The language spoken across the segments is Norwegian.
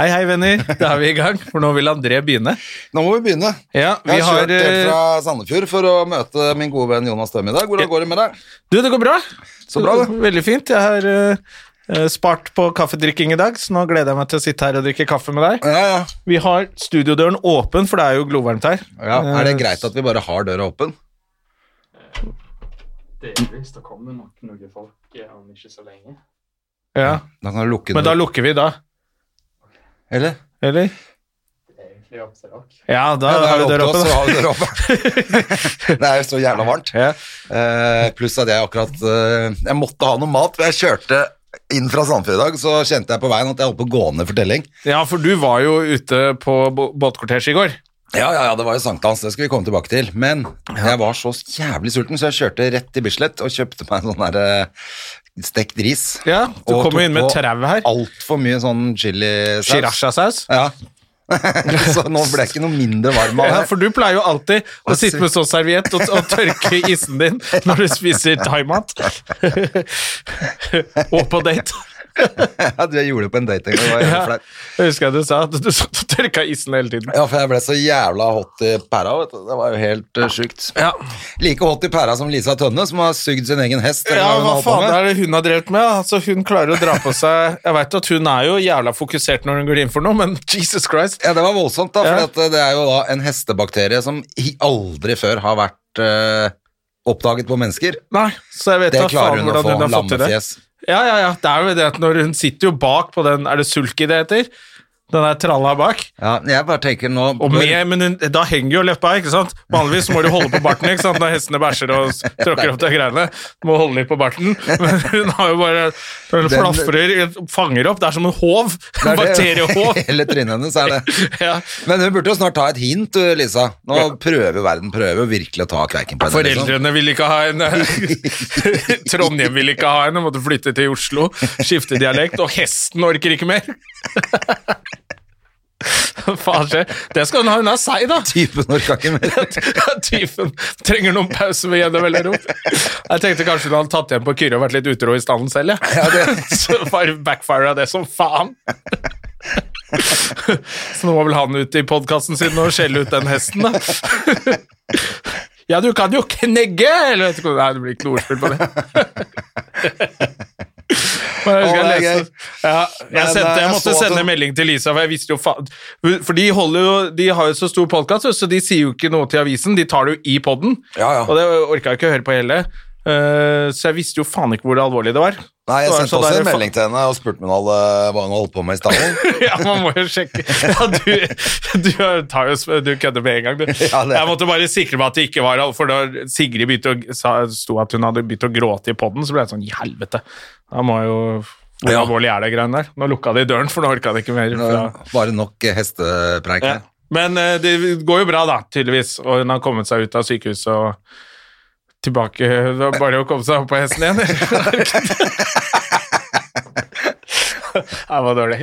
Hei, hei, venner. Da er vi i gang, for nå vil André begynne. Nå må vi begynne. Ja, vi Jeg har har kjørt helt eh, fra Sandefjord for å møte min gode venn Jonas Døhm i dag. Hvordan går det med deg? Du, det går bra. Så bra, det. Veldig fint. Jeg har eh, eh, spart på kaffedrikking i dag, så nå gleder jeg meg til å sitte her og drikke kaffe med deg. Ja, ja. Vi har studiodøren åpen, for det er jo glovarmt her. ja. Er eh, det greit at vi bare har døra åpen? Delvis. Det kommer nok noen folk eh, om ikke så lenge. Eh, Ja, Da kan du lukke Men da døra. lukker vi, da. Eller? Eller? Det er egentlig opp til dere. Ja, da Ja, det er har vi opp til døra oss åpen. å da. ha døra åpen. det er jo så jævla varmt. Ja. Eh, pluss at jeg akkurat eh, Jeg måtte ha noe mat, for jeg kjørte inn fra Sandefjord i dag, så kjente jeg på veien at jeg holdt på å gå ned for telling. ja, for du var jo ute på bå- båtkvartesje i går. Ja, ja, ja, det var jo sankthans, det skal vi komme tilbake til. Men jeg var så jævlig sulten, så jeg kjørte rett til Bislett og kjøpte meg sånn der eh, stekt ris. Ja, Du Og kom jo tok inn med på trauet her. Altfor mye sånn chili-saus. Shirasha-saus. Ja. så nå ble jeg ikke noe mindre varm av Ja, det. for du pleier jo alltid å Og sitte med sånn serviett og, og tørke issen din når du spiser thaimat. og på date. Ja, du, jeg gjorde det på en date en gang. det var jævlig Ja, flaut. jeg husker jeg du sa at du satt og tørka isen hele tiden. Ja, for jeg ble så jævla hot i pæra, vet du. Det var jo helt uh, sjukt. Ja, Like hot i pæra som Lisa Tønne, som har sugd sin egen hest. eller ja hva hun hva holdt på faen med. er det hun har drevet med? Altså, hun klarer å dra på seg Jeg veit at hun er jo jævla fokusert når hun går inn for noe, men Jesus Christ. Ja, det var voldsomt, da. Ja. For det er jo da en hestebakterie som hi- aldri før har vært eh, oppdaget på mennesker. Nei, så jeg vet Det da klarer faen hun å hvordan få. hun har fått til det. Lammefjes. Ja, ja, ja. Det er jo det at når hun sitter jo bak på den Er det sulky det heter? Den der tralla bak. Ja, jeg bare tenker nå Og med, men hun, da henger jo leppa, ikke sant? Vanligvis må du holde på barten ikke sant? når hestene bæsjer og s- tråkker opp de greiene. Du må holde litt på barten. Men hun har jo bare Hun flafrer, fanger opp. Det er som en håv. Det En er det- bakteriehåv. Hele trynet hennes er det. Ja. Men hun burde jo snart ta et hint, du, Lisa. Nå prøver verden prøver virkelig å ta kveiken på henne. liksom. Foreldrene ville ikke ha henne. Trondheim ville ikke ha henne, måtte flytte til Oslo. Skifte dialekt. Og hesten orker ikke mer. Faen skjer. Det skal hun ha. Hun er seig, da. Typen orka ikke mer. Typen trenger noen pause ved gjennom eller rom. Jeg tenkte kanskje hun hadde tatt igjen på Kyrre og vært litt utro i standen selv, jeg. Så bare backfira det som faen. Så nå må vel han ut i podkasten sin og skjelle ut den hesten, da. Ja, du kan jo knegge! Eller vet ikke, hva- nei, det blir ikke noe ordspill på det. Men jeg, husker jeg, Å, det er leste, ja, jeg, Men, sendte, eh, jeg jeg måtte så at sende hun- melding til Lisa, for jeg visste jo faen For de, holder jo, de har jo så stor podkast, så de sier jo ikke noe til avisen. De tar det jo i poden, Ja, ja. og det orka jeg ikke å høre på hele. Eh, så jeg visste jo faen ikke hvor alvorlig det var. Nei, jeg Det var sendte sånn også der, en fa- melding til henne og spurte om hun hadde, hva hun holdt på med i stallen. ja, man må jo sjekke. Ja, du, du, tar jo, sp- du kødder med en gang, du. Ja, det- jeg måtte bare sikre meg at det ikke var al- For da Sigrid begynte å, sa, sto at hun hadde begynt å gråte i poden, så ble jeg sånn I helvete! Da må jeg jo Hvor Ja. alvorlig er det greiene der? Nå lukka de døren, for nå orka det ikke mer. Fra, Bare nok eh, hestepreik. ja. her. Men eh, det går jo bra, da, tydeligvis. Og hun har kommet seg ut av sykehuset og tilbake Det var bare å komme seg opp på hesten igjen. Det var dårlig.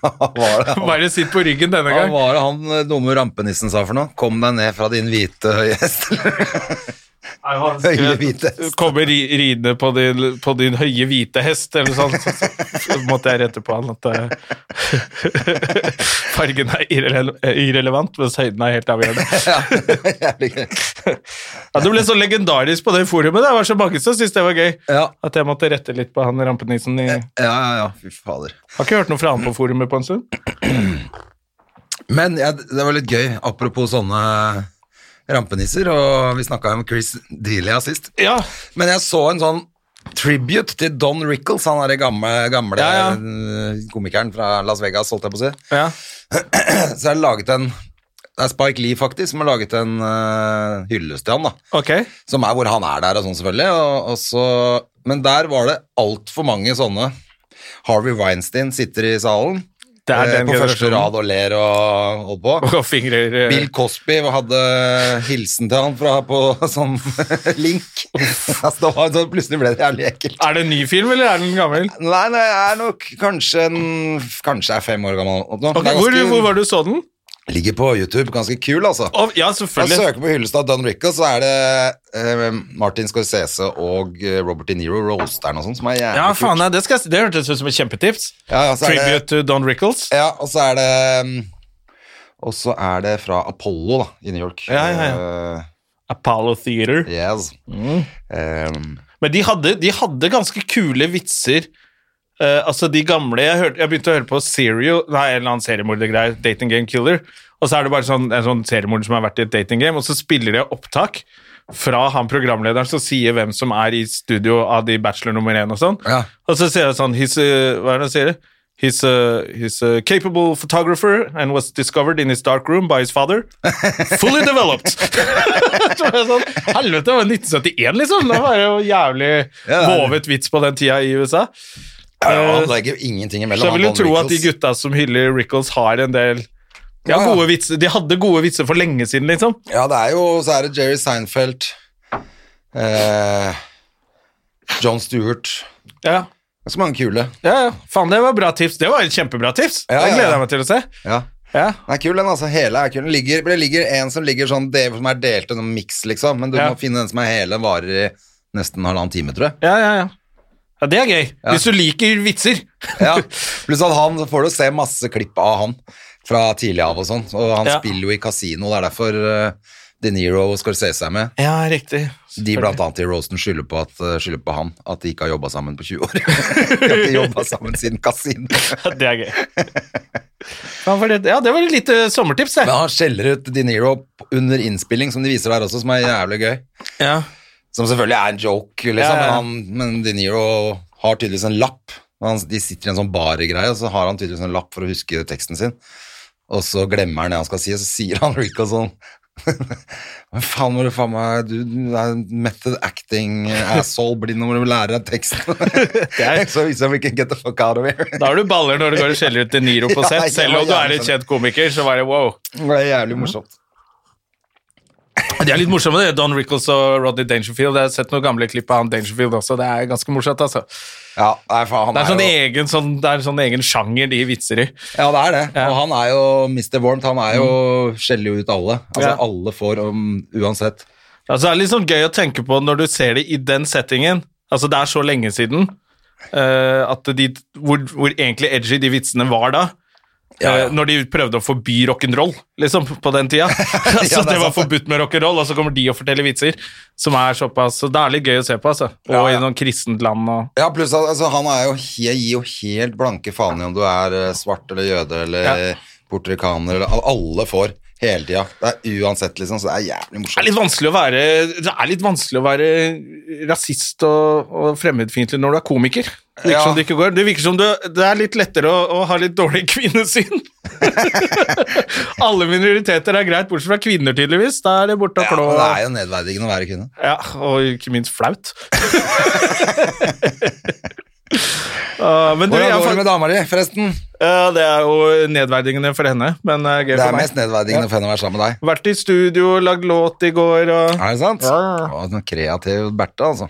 Hva var det han, Bare sitt på ryggen denne hva gang. var det han eh, dumme rampenissen sa for noe? Kom deg ned fra din hvite høye hest. Jeg har Høye hvite hest. Kommer ri- ridende på din, på din høye hvite hest, eller sånn. Så, så, så måtte jeg rette på han at eh, fargen er irrele- irrelevant, mens høyden er helt avgjørende. Ja, jævlig gøy. Ja, det ble så legendarisk på det forumet. Det var så mange som syntes det var gøy. Ja. At jeg måtte rette litt på han rampenissen. I, ja, ja, ja, fy fader. har ikke hørt noe fra han på forumet på en stund. Men ja, det var litt gøy, apropos sånne rampenisser, og vi snakka jo om Chris Delia sist. Ja, Men jeg så en sånn tribute til Don Rickles, han er den gamle, gamle Ja, ja. eh, komikeren fra Las Vegas, holdt jeg på å si. ja. Så jeg har laget en Det er Spike Lee, faktisk, som har laget en eh, hyllest til han, da. Ok. Som er hvor han er der og sånn, selvfølgelig. Og, og så, men der var det altfor mange sånne. Harvey Weinstein sitter i salen. Det er eh, den på første generasjonen. rad og ler og holder på. Og fingrer eh, Bill Cosby hadde hilsen til han fra på sånn link. altså, det var, så plutselig ble det jævlig ekkelt. Er det en ny film, eller er den gammel? Nei, nei, jeg er nok kanskje en, Kanskje jeg er fem år gammel. nå. Ok, Det er hvor, ganske- hvor var det du så den? Ligger på YouTube. Ganske kul, altså. Å, ja, Jeg selvfølgelig. søker på hyllesten av Don Rico, så er det eh, Martin Scorsese og eh, Robert De Niro, roasteren og sånn, som er jævlig Ja, faen, kult. nei, det, skal, jeg- det hørtes ut som et kjempetips. Ja, ja, så er det- Tribute to Don Rickles. Ja, og så er det mm, Og så er det fra Apollo, da, i New York. Ja, ja, Mm. Eh, Apollo Theater. yes. Ehm, Em, Men de hadde, de hadde ganske kule vitser. Eh, altså de gamle jeg, hørte, jeg begynte å høre på Serial, nei, en eller annen seriemordergreie, Dating Game Killer. Og så er det bare sånn, en sånn seriemorder som har vært i et dating game, og så spiller de opptak fra han programlederen som sier hvem som er i studio av de bachelor nummer én og sånn. Ja. Og så sier han sånn he's a, Hva er det han sier? He's a, he's a capable photographer and was discovered in his dark room by his father. Fully developed! Så var jeg sånn, Helvete, det var 1971, liksom! Det var jo jævlig Ja, det er- vovet vits på den tida i USA. ja, han Eh, legger ingenting imellom. så jeg han vil jo Don tro at de Rickles. gutta som hyller Rickles, har en del de, har Ja, ja. gode vitser, de hadde gode vitser for lenge siden, liksom. Ja, det er jo Så er det Jerry Seinfeld. eh, John Stewart. Ja, Ganske mange kule. ja, ja. Faen, det var bra tips. Det var et kjempebra tips! Ja, det ja, gleder ja. jeg meg til å se. Ja. Ja. Den er kul, den. altså, Hele er kul. Den ligger, det ligger en som ligger sånn, det som er delt en miks, liksom. Men du Ja. må finne den som er hele, den varer i nesten halvannen time, tror jeg. Ja, ja, ja. ja, det er gøy. Hvis du liker vitser. Ja. Pluss at han, så får du se masse klipp av han fra tidlig av og sånn. Og han Ja. spiller jo i kasino, det er derfor eh, De Niro og Scorsese er med. Ja, riktig. De blant annet i Rosen skylder på, at, eh, skylder på han, at de ikke har jobba sammen på 20 år. de har ikke jobba sammen siden kasino. Det er gøy. Faen, for det- Ja, det var et lite sommertips, det. Men han skjeller ut De Niro under innspilling, som de viser der også, som er jævlig gøy. Ja. Som selvfølgelig er en joke, liksom, Ja, ja, ja. Men, han, men De Niro har tydeligvis en lapp. Han, de sitter i en sånn bargreie, og så har han tydeligvis en lapp for å huske teksten sin. Og så glemmer han det han skal si, og så sier han Rico sånn Hva faen må du faen meg Du du er en method acting asshole, bli nå må du lære deg teksten. så viser han we can get the fuck out of here. Da har du baller når du går og skjeller ut De Niro på Ja, sånn. sett. jeg Selv var om du er jævlig en kjent komiker, så var det wow. Det er jævlig morsomt. De er litt morsomme, det. Don Rickles og Rodney Dangerfield. Jeg har sett noen gamle klipp av han Dangerfield også. Det er ganske morsomt, altså. Ja, nei, faen, han Det er, sånn jo egen, sånn, det er en sånn egen sjanger de vitser i. Ja, det er det. Og han er jo Mr. Warmt. Han er jo skjeller jo ut alle. Mm. Altså, Ja. alle får om uansett. Altså, det er litt sånn gøy å tenke på når du ser det i den settingen. Altså, det er så lenge siden eh, at de, hvor, hvor egentlig edgy de vitsene var da. Ja, ja. Eh, Når de prøvde å forby rock'n'roll, liksom, på den tida. altså, Ja, det er det var sant. forbudt med rock'n'roll, og så kommer de og forteller vitser som er såpass Så det er litt gøy å se på, altså. Og Ja, ja. i noen kristent land og Ja, pluss at altså, han er jo, he- gir jo helt blanke faen i om du er eh, svart eller jøde eller Ja. portrikaner eller al- Alle får hele tida. Det er uansett, liksom, så det er jævlig Det er morsomt. litt vanskelig å være, det er litt vanskelig å være rasist og, og fremmedfiendtlig når du er komiker. Det virker Ja. som det ikke går. Det virker som du, det er litt lettere å, å ha litt dårlig kvinnesyn. Alle minoriteter er greit, bortsett fra kvinner, tydeligvis. Da er det borte og Ja, klå. men det er jo nedverdigende å være kvinne. Ja, og ikke minst flaut. Ah, men du, Hvordan jeg, går det fant- med dama di, forresten? ja, det er jo nedverdigende for henne, men eh, gøy Det for er meg. mest nedverdigende for henne å være sammen med deg. Vært i studio, lagd låt i går og Er det sant? Ja, ja. Å, sånn kreativ Berthe, altså.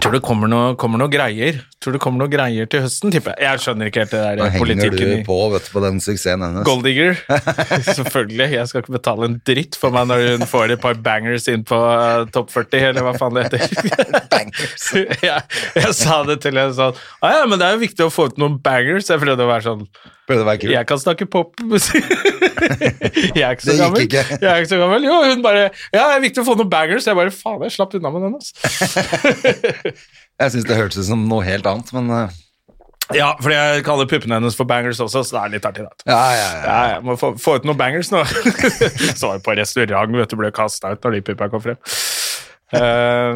Tror det kommer noe, kommer noe greier Tror det kommer noe greier til høsten, tipper jeg. Jeg skjønner ikke helt det Da der henger du politikken i på vet du, på den suksessen hennes. Goldigger. Selvfølgelig. Jeg skal ikke betale en dritt for meg når hun får et par bangers inn på eh, topp 40, eller hva faen det heter. Bangers. jeg, jeg sa det til henne sånn ah, ja, men det er jo viktig å få ut noen bangers. Jeg prøvde å være sånn Prøvde å være kul. Jeg kan snakke popmusikk. jeg er ikke så Det gikk gammel. ikke. Jeg er ikke så gammel. Jo, hun bare Ja, det er viktig å få noen bangers. Jeg bare Faen, jeg slapp unna med den, altså. Jeg syns det hørtes ut som noe helt annet, men eh, Ja, fordi jeg kaller puppene hennes for bangers også, så det er litt artig, da. Ja, ja, ja. Ja, jeg må få, få ut noen bangers nå. Så var jeg på restaurant, vet du, ble kasta ut når de puppa kom frem. Eh,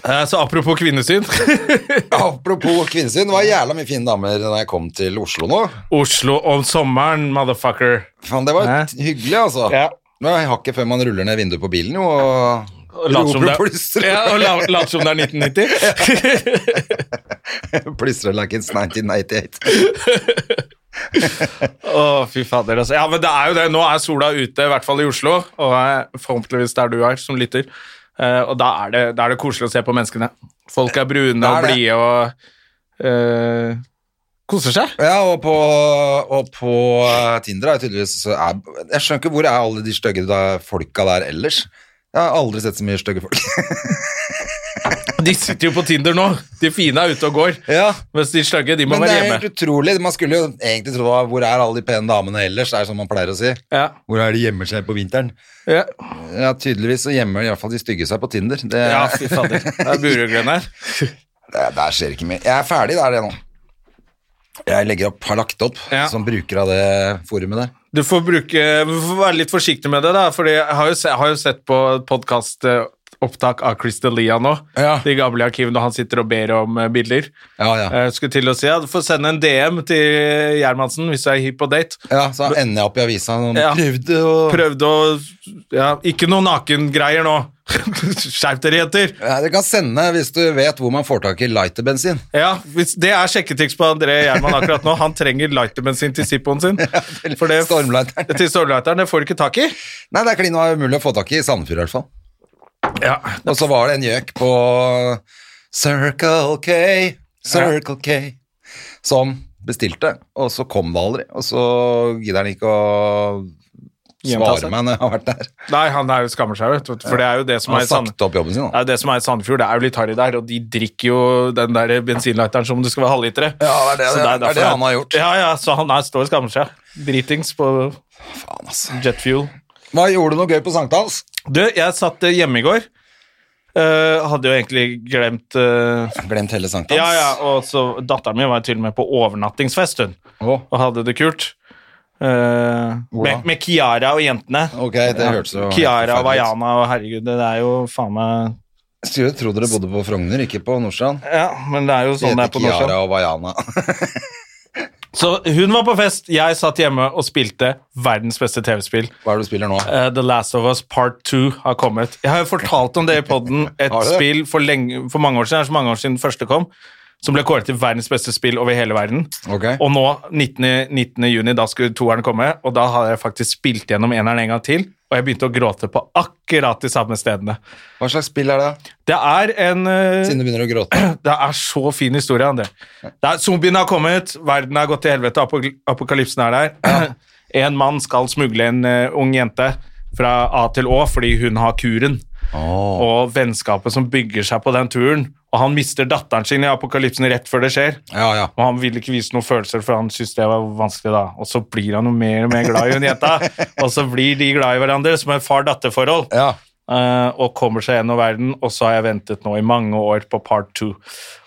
eh, så apropos kvinnesyn. Apropos kvinnesyn, det var jævla mye fine damer da jeg kom til Oslo nå. Oslo om sommeren, motherfucker. Faen, det var Hæ? hyggelig, altså. Ja. Men jeg har ikke før man ruller ned vinduet på bilen, jo. Og Og later som det roper er- plystrer. ja, og la- later som det er 1990. plystrer like it's 1998. Å, fy fader. Altså. Ja, men det er jo det. Nå er sola ute, i hvert fall i Oslo, og eh, forhåpentligvis der du er, som lytter. Eh, og da er, det, da er det koselig å se på menneskene. Folk er brune og Det er det. blide og eh, koser seg. Ja, og på, og på eh, Tinder er tydeligvis så er, Jeg skjønner ikke hvor er alle de stygge da- folka der ellers. Jeg har aldri sett så mye stygge folk. De sitter jo på Tinder nå. De fine er ute og går. Ja, Mens de stygge, de må Men det være er hjemme. helt utrolig. Man skulle jo egentlig tro det var Hvor er alle de pene damene ellers? Det er som man pleier å si. Ja, Hvor er de gjemmer seg på vinteren? ja. Ja, tydeligvis så gjemmer i hvert fall de stygge seg på Tinder. Det, ja fy fader. Det er buruglene her. det, der skjer ikke mye. Jeg er ferdig, det er det nå. Jeg legger opp, har lagt opp, Ja. som bruker av det forumet der. Du får, bruke, du får være litt forsiktig med det, da, Fordi jeg har jo, se, jeg har jo sett på podkastopptak av Chris D'Elia nå. Ja. De gamle arkivene når han sitter og ber om eh, bilder. Ja, ja. Jeg skulle til å si ja, Du får sende en DM til Gjermansen hvis du er hypp på date. ja så ender jeg opp i avisa. Noen Ja. prøvde å Prøvde å ja, Ikke noe nakengreier nå! Skjerp dere, jenter! ja, Du kan sende hvis du vet hvor man får tak i lighterbensin. Ja, hvis, Det er sjekketriks på André Gjerman akkurat nå. Han trenger lighterbensin til zippoen sin. til For det- stormlighteren. Til stormlighteren. Det får du ikke tak i. Nei, det er klin umulig å få tak i i Sandefjord i hvert fall. Ja, Og så var det en gjøk på Circle K, Circle K, som bestilte, og så kom det aldri. Og så gidder han ikke å Gjenta svare seg. meg når jeg har vært der. Nei, han er jo skammer seg, vet du. For det er jo det som Han er har i Sand- sagt opp jobben sin. det Da. er jo det som er i Sandefjord. Det er jo litt harry der, og de drikker jo den der bensinlighteren som om det skal være halvlitere. Ja, det er det- Så det er det derfor- han har gjort. Ja, ja, så han er, står og skammer seg. Dritings på Faen, altså. jet fuel. Hva gjorde du noe gøy på sankthans? Du, jeg satt eh, hjemme i går. Eh, hadde jo egentlig glemt eh, Glemt hele sankthans. Ja, ja, og så Datteren min var jo til og med på overnattingsfest, hun. Å, Og hadde det kult. Eh, med, med Kiara og jentene. ok, det hørtes jo helt Kiara og forferdelig ut. Vaiana og herregud, det er jo faen meg Skulle tro dere bodde på Frogner, ikke på Nordstrand. Ja, men det er jo De sånn det er heter på norsk. Kiara og Vaiana. Så hun var på fest, jeg satt hjemme og spilte verdens beste TV-spill. Hva er det du spiller nå? Eh, The Last of Us Part 2 har kommet. Jeg har jo fortalt om det i podden, et Har du det? spill for, lenge, for mange år siden, det er så mange år siden det første kom, som ble kåret til verdens beste spill over hele verden. Ok. Og nå, 19. 19. juni, da skulle toeren komme, og da har jeg faktisk spilt gjennom eneren en gang til, og jeg begynte å gråte på akkurat de samme stedene. Hva slags spill er det? Det er en... eh, Siden du begynner å gråte. det er så fin historie, André. Det er, zombiene har kommet, verden har gått til helvete, apo- apokalypsen er der. En mann skal smugle en eh, ung jente fra A til Å fordi hun har kuren. Og vennskapet som bygger seg på den turen. Og han mister datteren sin i apokalypsen rett før det skjer. Ja, ja. Og han vil ikke vise noen følelser, for han syntes det var vanskelig da. Og så blir han jo mer og mer glad i hun jenta, og så blir de glad i hverandre som et far-datter-forhold. ja. Eh, og kommer seg gjennom verden, og så har jeg ventet nå i mange år på part 2.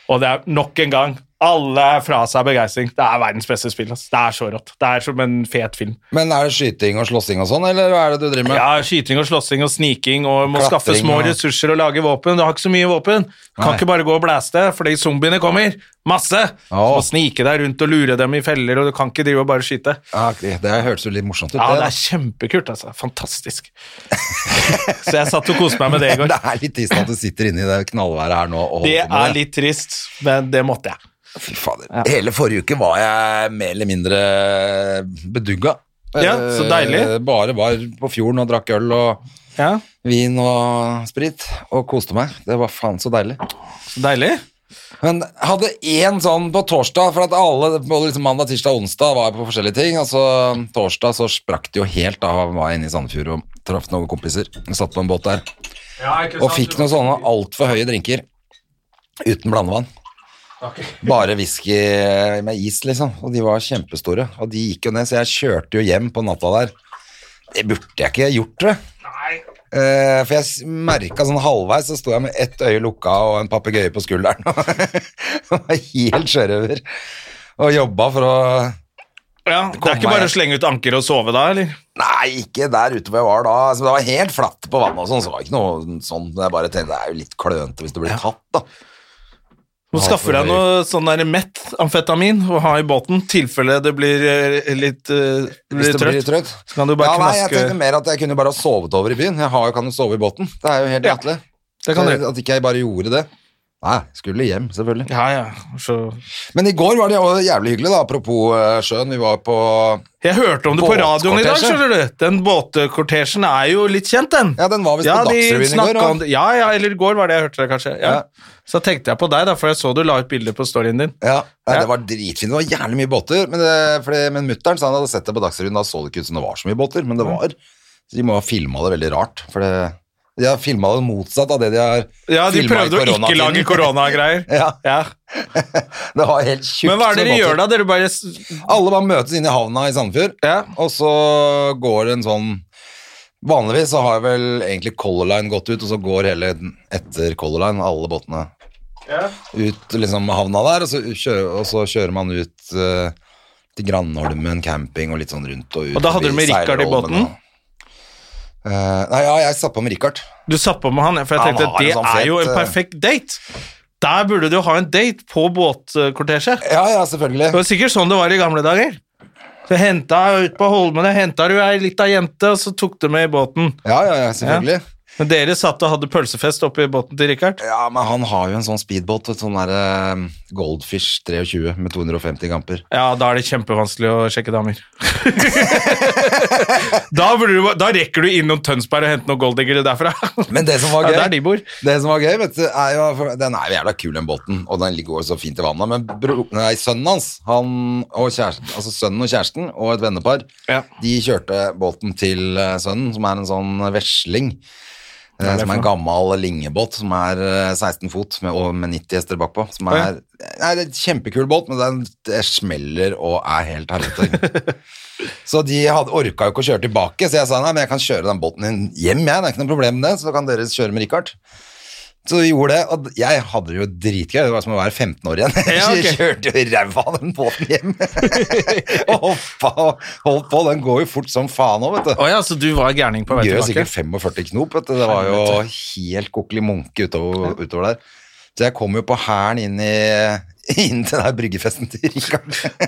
Og det er nok en gang alle er fra seg av begeistring. Det er verdens beste spill. ass. Det er så rått. Det er som en fet film. Men er det skyting og slåssing og sånn, eller hva er det du driver med? Ja, Skyting og slåssing og sniking og må Klatring skaffe små og- ressurser og lage våpen. Du har ikke så mye våpen. Du kan Nei. ikke bare gå og blæste fordi zombiene kommer. Masse! Du Åh. må snike deg rundt og lure dem i feller, og du kan ikke drive og bare skyte. Ja, Ah, ok, det hørtes jo litt morsomt ut. Ja, det da. er kjempekult, altså. Fantastisk. så jeg satt og koste meg med det i går. det er litt trist at du sitter inne i det knallværet her nå. Og holder Det på med er litt trist, men det måtte jeg. Fy fader. Hele forrige uke var jeg mer eller mindre bedugga. Ja, så deilig. Eh, Bare var på fjorden og drakk øl og Ja, vin og sprit og koste meg. Det var faen så deilig. så deilig. Men hadde én sånn på torsdag, for at alle både liksom mandag, tirsdag og onsdag var jeg på forskjellige ting. Og så torsdag så sprakk det jo helt. Da var jeg inne i Sandefjord og traff noen kompiser. Jeg satt på en båt der. og fikk noen sånne altfor høye drinker uten blandevann. Bare whisky med is, liksom. Og de var kjempestore. Og de gikk jo ned, så jeg kjørte jo hjem på natta der. Det burde jeg ikke gjort, tror jeg. Eh, for jeg merka sånn halvveis, så sto jeg med ett øye lukka og en papegøye på skulderen. Og var helt sjørøver. Og jobba for å Ja, det er kom ikke bare meg. å slenge ut anker og sove da, eller? Nei, ikke der ute hvor jeg var da. Altså, det var helt flatt på vannet og sånn, så det var ikke noe sånn. Jeg bare tenkte det er jo litt klønete hvis du blir tatt, da. Du må Ja, skaffe for deg det- noe sånn der metamfetamin å ha i båten, tilfelle det blir eh, litt, eh, Hvis blir det blir trøtt. trøtt. Så kan du bare ja, nei, jeg knaske- tenkte mer at jeg kunne bare ha sovet over i byen. Jeg har jo, kan jo sove i båten. Det er jo helt Ja, latterlig. det kan du Så At ikke jeg bare gjorde det. Nei, skulle hjem, selvfølgelig. Ja, ja. Så Men i går var det jo jævlig hyggelig, da, apropos eh, sjøen. Vi var på Jeg hørte om det på radioen i dag, Båtkortesje. skjønner du. Den båtkortesjen er jo litt kjent, den. Ja, den var visst på de Dagsrevyen i går, snakket da. om det- Ja, ja, eller i går var det jeg hørte det, kanskje. Ja. Ja. Så tenkte jeg på deg, da, for jeg så du la ut bilder på storyen din. Ja, nei, Ja. det var dritfint. Det var jævlig mye båter. Men, det- fordi- men mutter'n sa han hadde sett det på Dagsrevyen, da så det ikke ut som det var så mye båter. Mm. Men det var. Så de må ha filma det veldig rart. For det, de har filma det motsatt av det de har Ja, de filma i prøvde å ikke lage koronatiden. koronagreier. Ja, Ja. det var helt tjukt. Men hva er det med dere gjør båter. da? Dere bare s- Alle bare møtes inne i havna i Sandefjord, Ja. og så går det en sånn Vanligvis så har vel egentlig Color Line gått ut, og så går hele etter Color Line, alle båtene ut liksom havna der, og så, kjø- og så kjører man ut eh, til Grandholmen camping og litt sånn rundt og ut. Og da hadde du med forbi Richard i Seilholmen båten? og- Eh, nei, ja, jeg satt på med Richard. Du satt på med han, for jeg Han tenkte har at det en sånn er jo en fet, eh, perfekt date. Der burde du jo ha en date på båtkortesje. Ja, ja, Det selvfølgelig. var sikkert sånn det var i gamle dager. Så henta ut på Holmene, henta du ei lita jente, og så tok du med i båten. Ja, ja, ja, selvfølgelig. Men dere satt og hadde pølsefest oppe i båten til Richard. Ja, men han har jo en sånn speedbåt, et sånn der eh, Goldfish 23 med 250 gamper. Ja, da er det kjempevanskelig å sjekke damer. da, burde du, da rekker du innom Tønsberg og hente noen golddiggere derfra. Men det som var Ja, gøy, der de bor. det som var gøy vet du, er jo, for den er jo jævla kul den båten, og den ligger jo så fint i vannet, men bro, nei, sønnen hans, han og kjæresten, altså sønnen og kjæresten og et vennepar, Ja. de kjørte båten til eh, sønnen, som er en sånn vesling, eh, er det som er for en gammel lingebåt, som er eh, 16 fot med, og med 90 hester bakpå, som Å, ja. er, nei, det er et kjempekul båt, men den det smeller og er helt herretter. Så de hadde orka jo ikke å kjøre tilbake, så jeg sa nei, men jeg kan kjøre den båten din hjem, jeg. Det er ikke noe problem med det, så kan dere kjøre med Richard. Så vi gjorde det, og jeg hadde det jo dritgøy. Det var som å være 15 år igjen. Ja, ok. Jeg kjørte jo ræva av den båten hjem. og hoppa og holdt på. Den går jo fort som faen òg, vet du. Å ja, så du var gærning på vei Gjør jo tilbake? sikkert 45 knop, vet du. Det var jo helt kokkelig munke utover, utover der. Så jeg kom jo på hælen inn, i- inn til den her bryggefesten til Richard.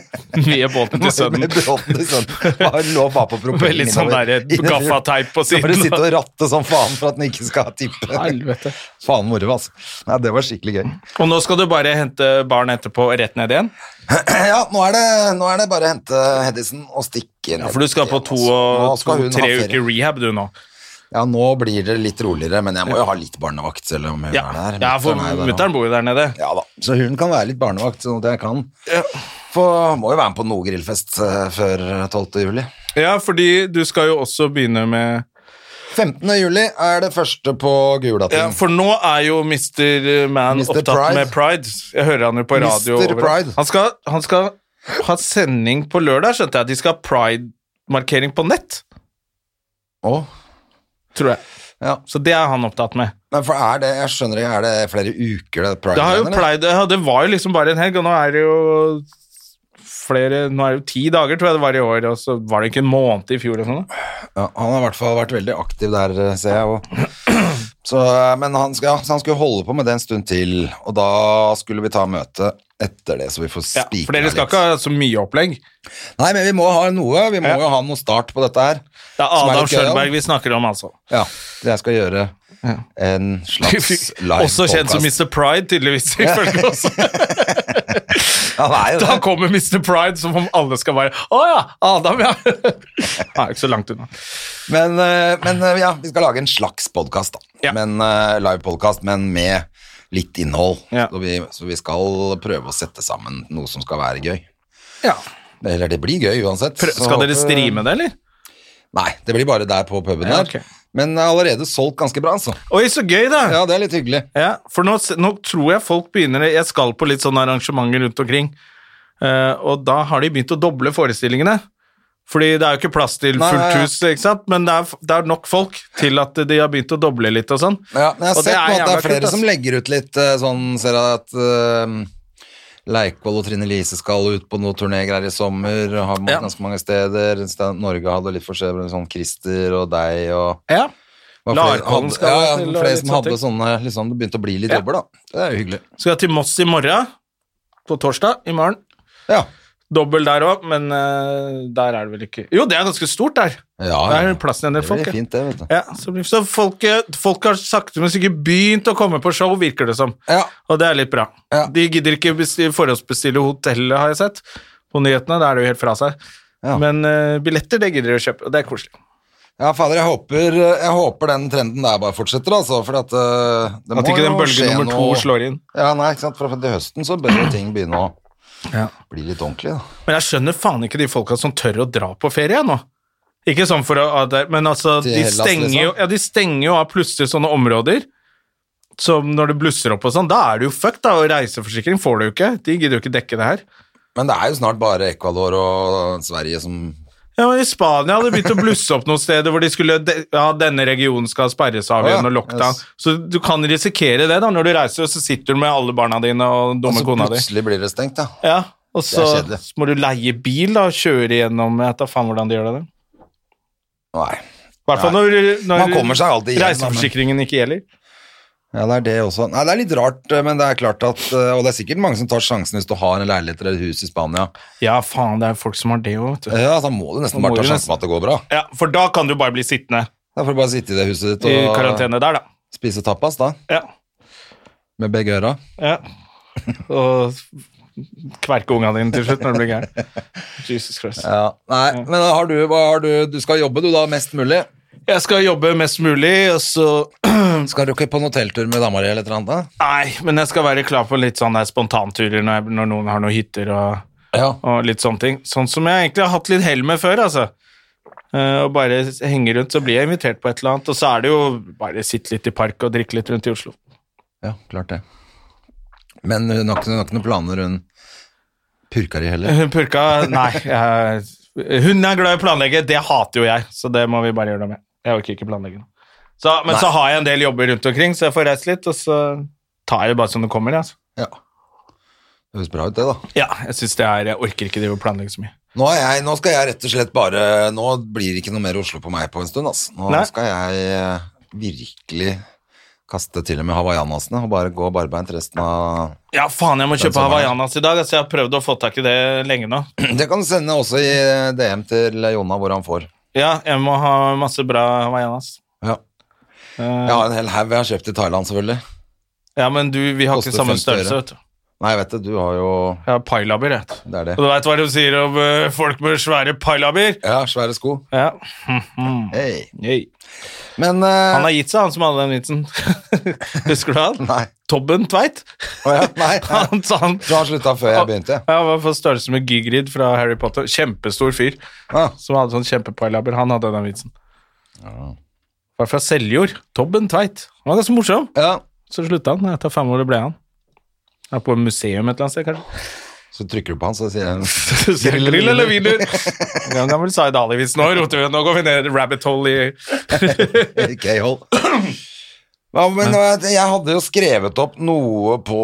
Med båten til sønnen. Med liksom. bråten til sønnen. Bare lå bare på propellen. Med litt sånn innover. der gaffateip på Så får du siden. sitte og ratte som faen for at den ikke skal tippe. Helvete. Faen moro, altså. Nei, det var skikkelig gøy. Og nå skal du bare hente barn etterpå og rett ned igjen? Ja, nå er det, nå er det bare å hente Hedison og stikke. Ja, For du skal på to altså- Nå og skal hun ha tre ferie. uker rehab, du nå. Ja, nå blir det litt roligere, men jeg må jo ha litt barnevakt selv om hun Ja, er der. ja for Mutteren er jo der mutter'n nå. bor jo der nede. Ja da, så hun kan være litt barnevakt, sånn at jeg kan. For må jo være med på noe grillfest eh, før 12. juli. Ja, fordi du skal jo også begynne med 15. juli er det første på Ja, Gulating. For nå er jo Mr. Man Mr. opptatt Pride. med Pride. Jeg hører han jo på Mr. radio. overalt. Pride. Han, skal, han skal ha sending på lørdag, skjønte jeg. De skal ha Pride-markering på nett, Åh. tror jeg. Ja. Så det er han opptatt med. Men for er det, jeg skjønner ikke, er det flere uker det er pride? Det, har jo igjen, eller? pleid, ja, det var jo liksom bare en helg, og nå er det jo flere, nå er det jo ti dager, tror jeg det var i år, og så var det ikke en måned i fjor. og sånn. da. Ja, han har i hvert fall vært veldig aktiv der, eh, ser jeg. Og. Så, eh, men han, skal, så han skulle holde på med det en stund til, og da skulle vi ta møte etter det, så vi får Ja, spikre for dere det skal ikke ha så mye opplegg. Nei, men vi må ha noe. Vi må jo ha noe start på dette her. Det er som er Adam litt gøy, da. Schjølberg vi snakker om, altså. Ja, så jeg skal gjøre en slags live Også kjent som podcast. Mr. Pride, tydeligvis. ifølge oss. Ja, det er jo Da det. kommer Mr. Pride som om alle skal være Å ja, Adam, ja! Han er ikke så langt unna. Men, eh, men eh, ja, vi skal lage en slags podkast, da. Ja. Men, eh, live podcast, men med litt innhold. Ja. Så, vi, så vi skal prøve å sette sammen noe som skal være gøy. Ja. Eller det blir gøy uansett. Prø- så Skal dere håper- streame det, eller? Nei, det blir bare der på puben Ja, der. ok. Men jeg har allerede solgt ganske bra, altså. Oi, så gøy, da! Ja. Ja, det er litt hyggelig. for nå, s- nå tror jeg folk begynner Jeg skal på litt sånne arrangementer rundt omkring, eh, og da har de begynt å doble forestillingene. Fordi det er jo ikke plass til Nei, nei, fullt ja. hus, ikke sant? men det er, f- det er nok folk til at de har begynt å doble litt og sånn. Ja, men jeg har Og det er sett nå at det jævla er flere kult, ass. som legger ut litt eh, sånn Ser jeg at eh, Leikvoll og Trine Lise skal ut på noen turnégreier i sommer. Og har Ja. ganske mange steder. Sten- Norge hadde litt forskjellig, sånn Christer og deg og Ja. var Larkollen hadde- skal ja, ja, til, og flere litt som sånne hadde sånne liksom, Det begynte å bli litt Ja. jobber, da. Det er jo hyggelig. Skal jeg til Moss i morgen. På torsdag i morgen. Ja. Dobbel der òg, men eh, der er det vel ikke Jo, det er ganske stort der. Ja, Der Ah, ja. er plassen igjen Det til folk. blir ja. fint, det, vet du. Ja, så, blir- så folk, eh, folk har sakte, men sikkert begynt å komme på show, virker det som. Ja. Og det er litt bra. Ja. De gidder ikke besti- forhåndsbestille hotellet, har jeg sett. På nyhetene, da er det jo helt fra seg. Ja. Men eh, billetter, det gidder de å kjøpe, og det er koselig. Ja, fader, jeg håper, eh, jeg håper den trenden der bare fortsetter, altså. For at eh, det må At ikke den jo bølge skje nummer to noe- slår inn. Ja, nei, ikke sant. For at til høsten så bør jo ting begynne å Ja. bli litt ordentlig, da. Men jeg skjønner faen ikke de folka som tør å dra på ferie nå. Ikke sånn for å at det- Men altså, Til de Hellas, stenger, jo, liksom? ja, de stenger jo av plutselig sånne områder. Som når det blusser opp og sånn, da er du jo fucked, da. Og reiseforsikring får du jo ikke. De gidder jo ikke dekke det her. Men det er jo snart bare Ecuador og Sverige som Ja, men I Spania hadde det begynt å blusse opp noen steder hvor de skulle de, Ja, denne regionen skal sperres av Å ja, igjen og lockdown. yes. Så du kan risikere det, da. Når du reiser, og så sitter du med alle barna dine og dumme Altså, kona di. plutselig blir det stengt, ja. Ja, og så, kjedelig. så må du leie bil, da, og kjøre gjennom Jeg vet da faen hvordan de gjør det. der. Nei. I hvert fall når, Man kommer når seg alltid igjen, da, men- reiseforsikringen ikke gjelder. Ja, det er det også. Nei, det er litt rart, men det er klart at eh, Og det er sikkert mange som tar sjansen hvis du har en leilighet eller et hus i Spania. Eh, Ja, faen, det er folk som har det òg, vet du. Ja, da må du nesten Da må bare ta du sjansen på at det går bra. Ja, for da kan du bare bli sittende Da får du bare sitte i det huset ditt i og karantene der, da. spise tapas, da. Ja. Med begge øra. ja. Og kverke unga dine til slutt når du blir gæren. Jesus Christ. Ja. Nei, men har du, hva har du Du skal jobbe, du, da, mest mulig. Jeg skal jobbe mest mulig, og så Skal du ikke på en hotelltur med dama di eller et eller annet? Nei, men jeg skal være klar for litt sånne spontanturer når, jeg, når noen har noen hytter og, da? Ja. og litt sånne ting. Sånn som jeg egentlig har hatt litt hell med før, altså. Eh, og bare henge rundt, så blir jeg invitert på et eller annet. Og så er det jo bare sitte litt i park og drikke litt rundt i Oslo. Ja, klart det. Men hun har ikke, hun har ikke noen planer, hun purker i heller. Hun purka Nei. Jeg, hun er glad i å planlegge, det hater jo jeg, så det må vi bare gjøre noe med. Jeg orker ikke planlegge noe. Så, men så har jeg en del jobber rundt omkring, så jeg får reist litt, og så tar jeg det bare som det kommer. jeg, Altså. Ja. Det høres bra ut, det, da. Ja, jeg synes det er Jeg orker ikke drive og planlegge så mye. Nå, er jeg, nå skal jeg rett og slett bare Nå blir det ikke noe mer Oslo på meg på en stund, ass. Nå Nei. skal jeg eh, virkelig kaste til og med hawaiianasene og bare gå barbeint resten av Ja, faen, jeg må kjøpe sommeren. hawaiianas i dag. Altså, jeg har prøvd å få tak i det lenge nå. Det kan du sende også i DM til Jonna hvor han får. Ja, jeg må ha masse bra hawaiianas. Ja. Jeg har en hel haug jeg har kjøpt i Thailand, selvfølgelig. Ja, men du, vi har Koster ikke samme 50 øre. størrelse, vet du. Nei, vet du, du har jo Jeg har pailaber, jeg. vet du. Det er Og det. du veit hva de sier om eh, folk med svære pailaber? Ja, svære sko. Ja. Hei. Yay. Men eh, Han har gitt seg, han som hadde den vitsen. Husker du han? Nei. Tobben Tveit. Å ja, nei. Han sa han Så han slutta før jeg begynte. Ja, han var på størrelse med Gigrid fra Harry Potter. Kjempestor fyr Ah, som hadde sånn kjempepailaber. Han hadde den vitsen. Var fra Seljord. Tobben Tveit. Han var ganske morsom. ja. Så slutta han. Etter fem år ble han. Er på museum et eller annet sted, kanskje. Så trykker du på han, så sier jeg Så Grill eller wiener? Han kan vel Zaid Ali-vits nå. Roter vi, nå går vi ned rabbit hole i ikke hold. Ja, men eh, jeg hadde jo skrevet opp noe på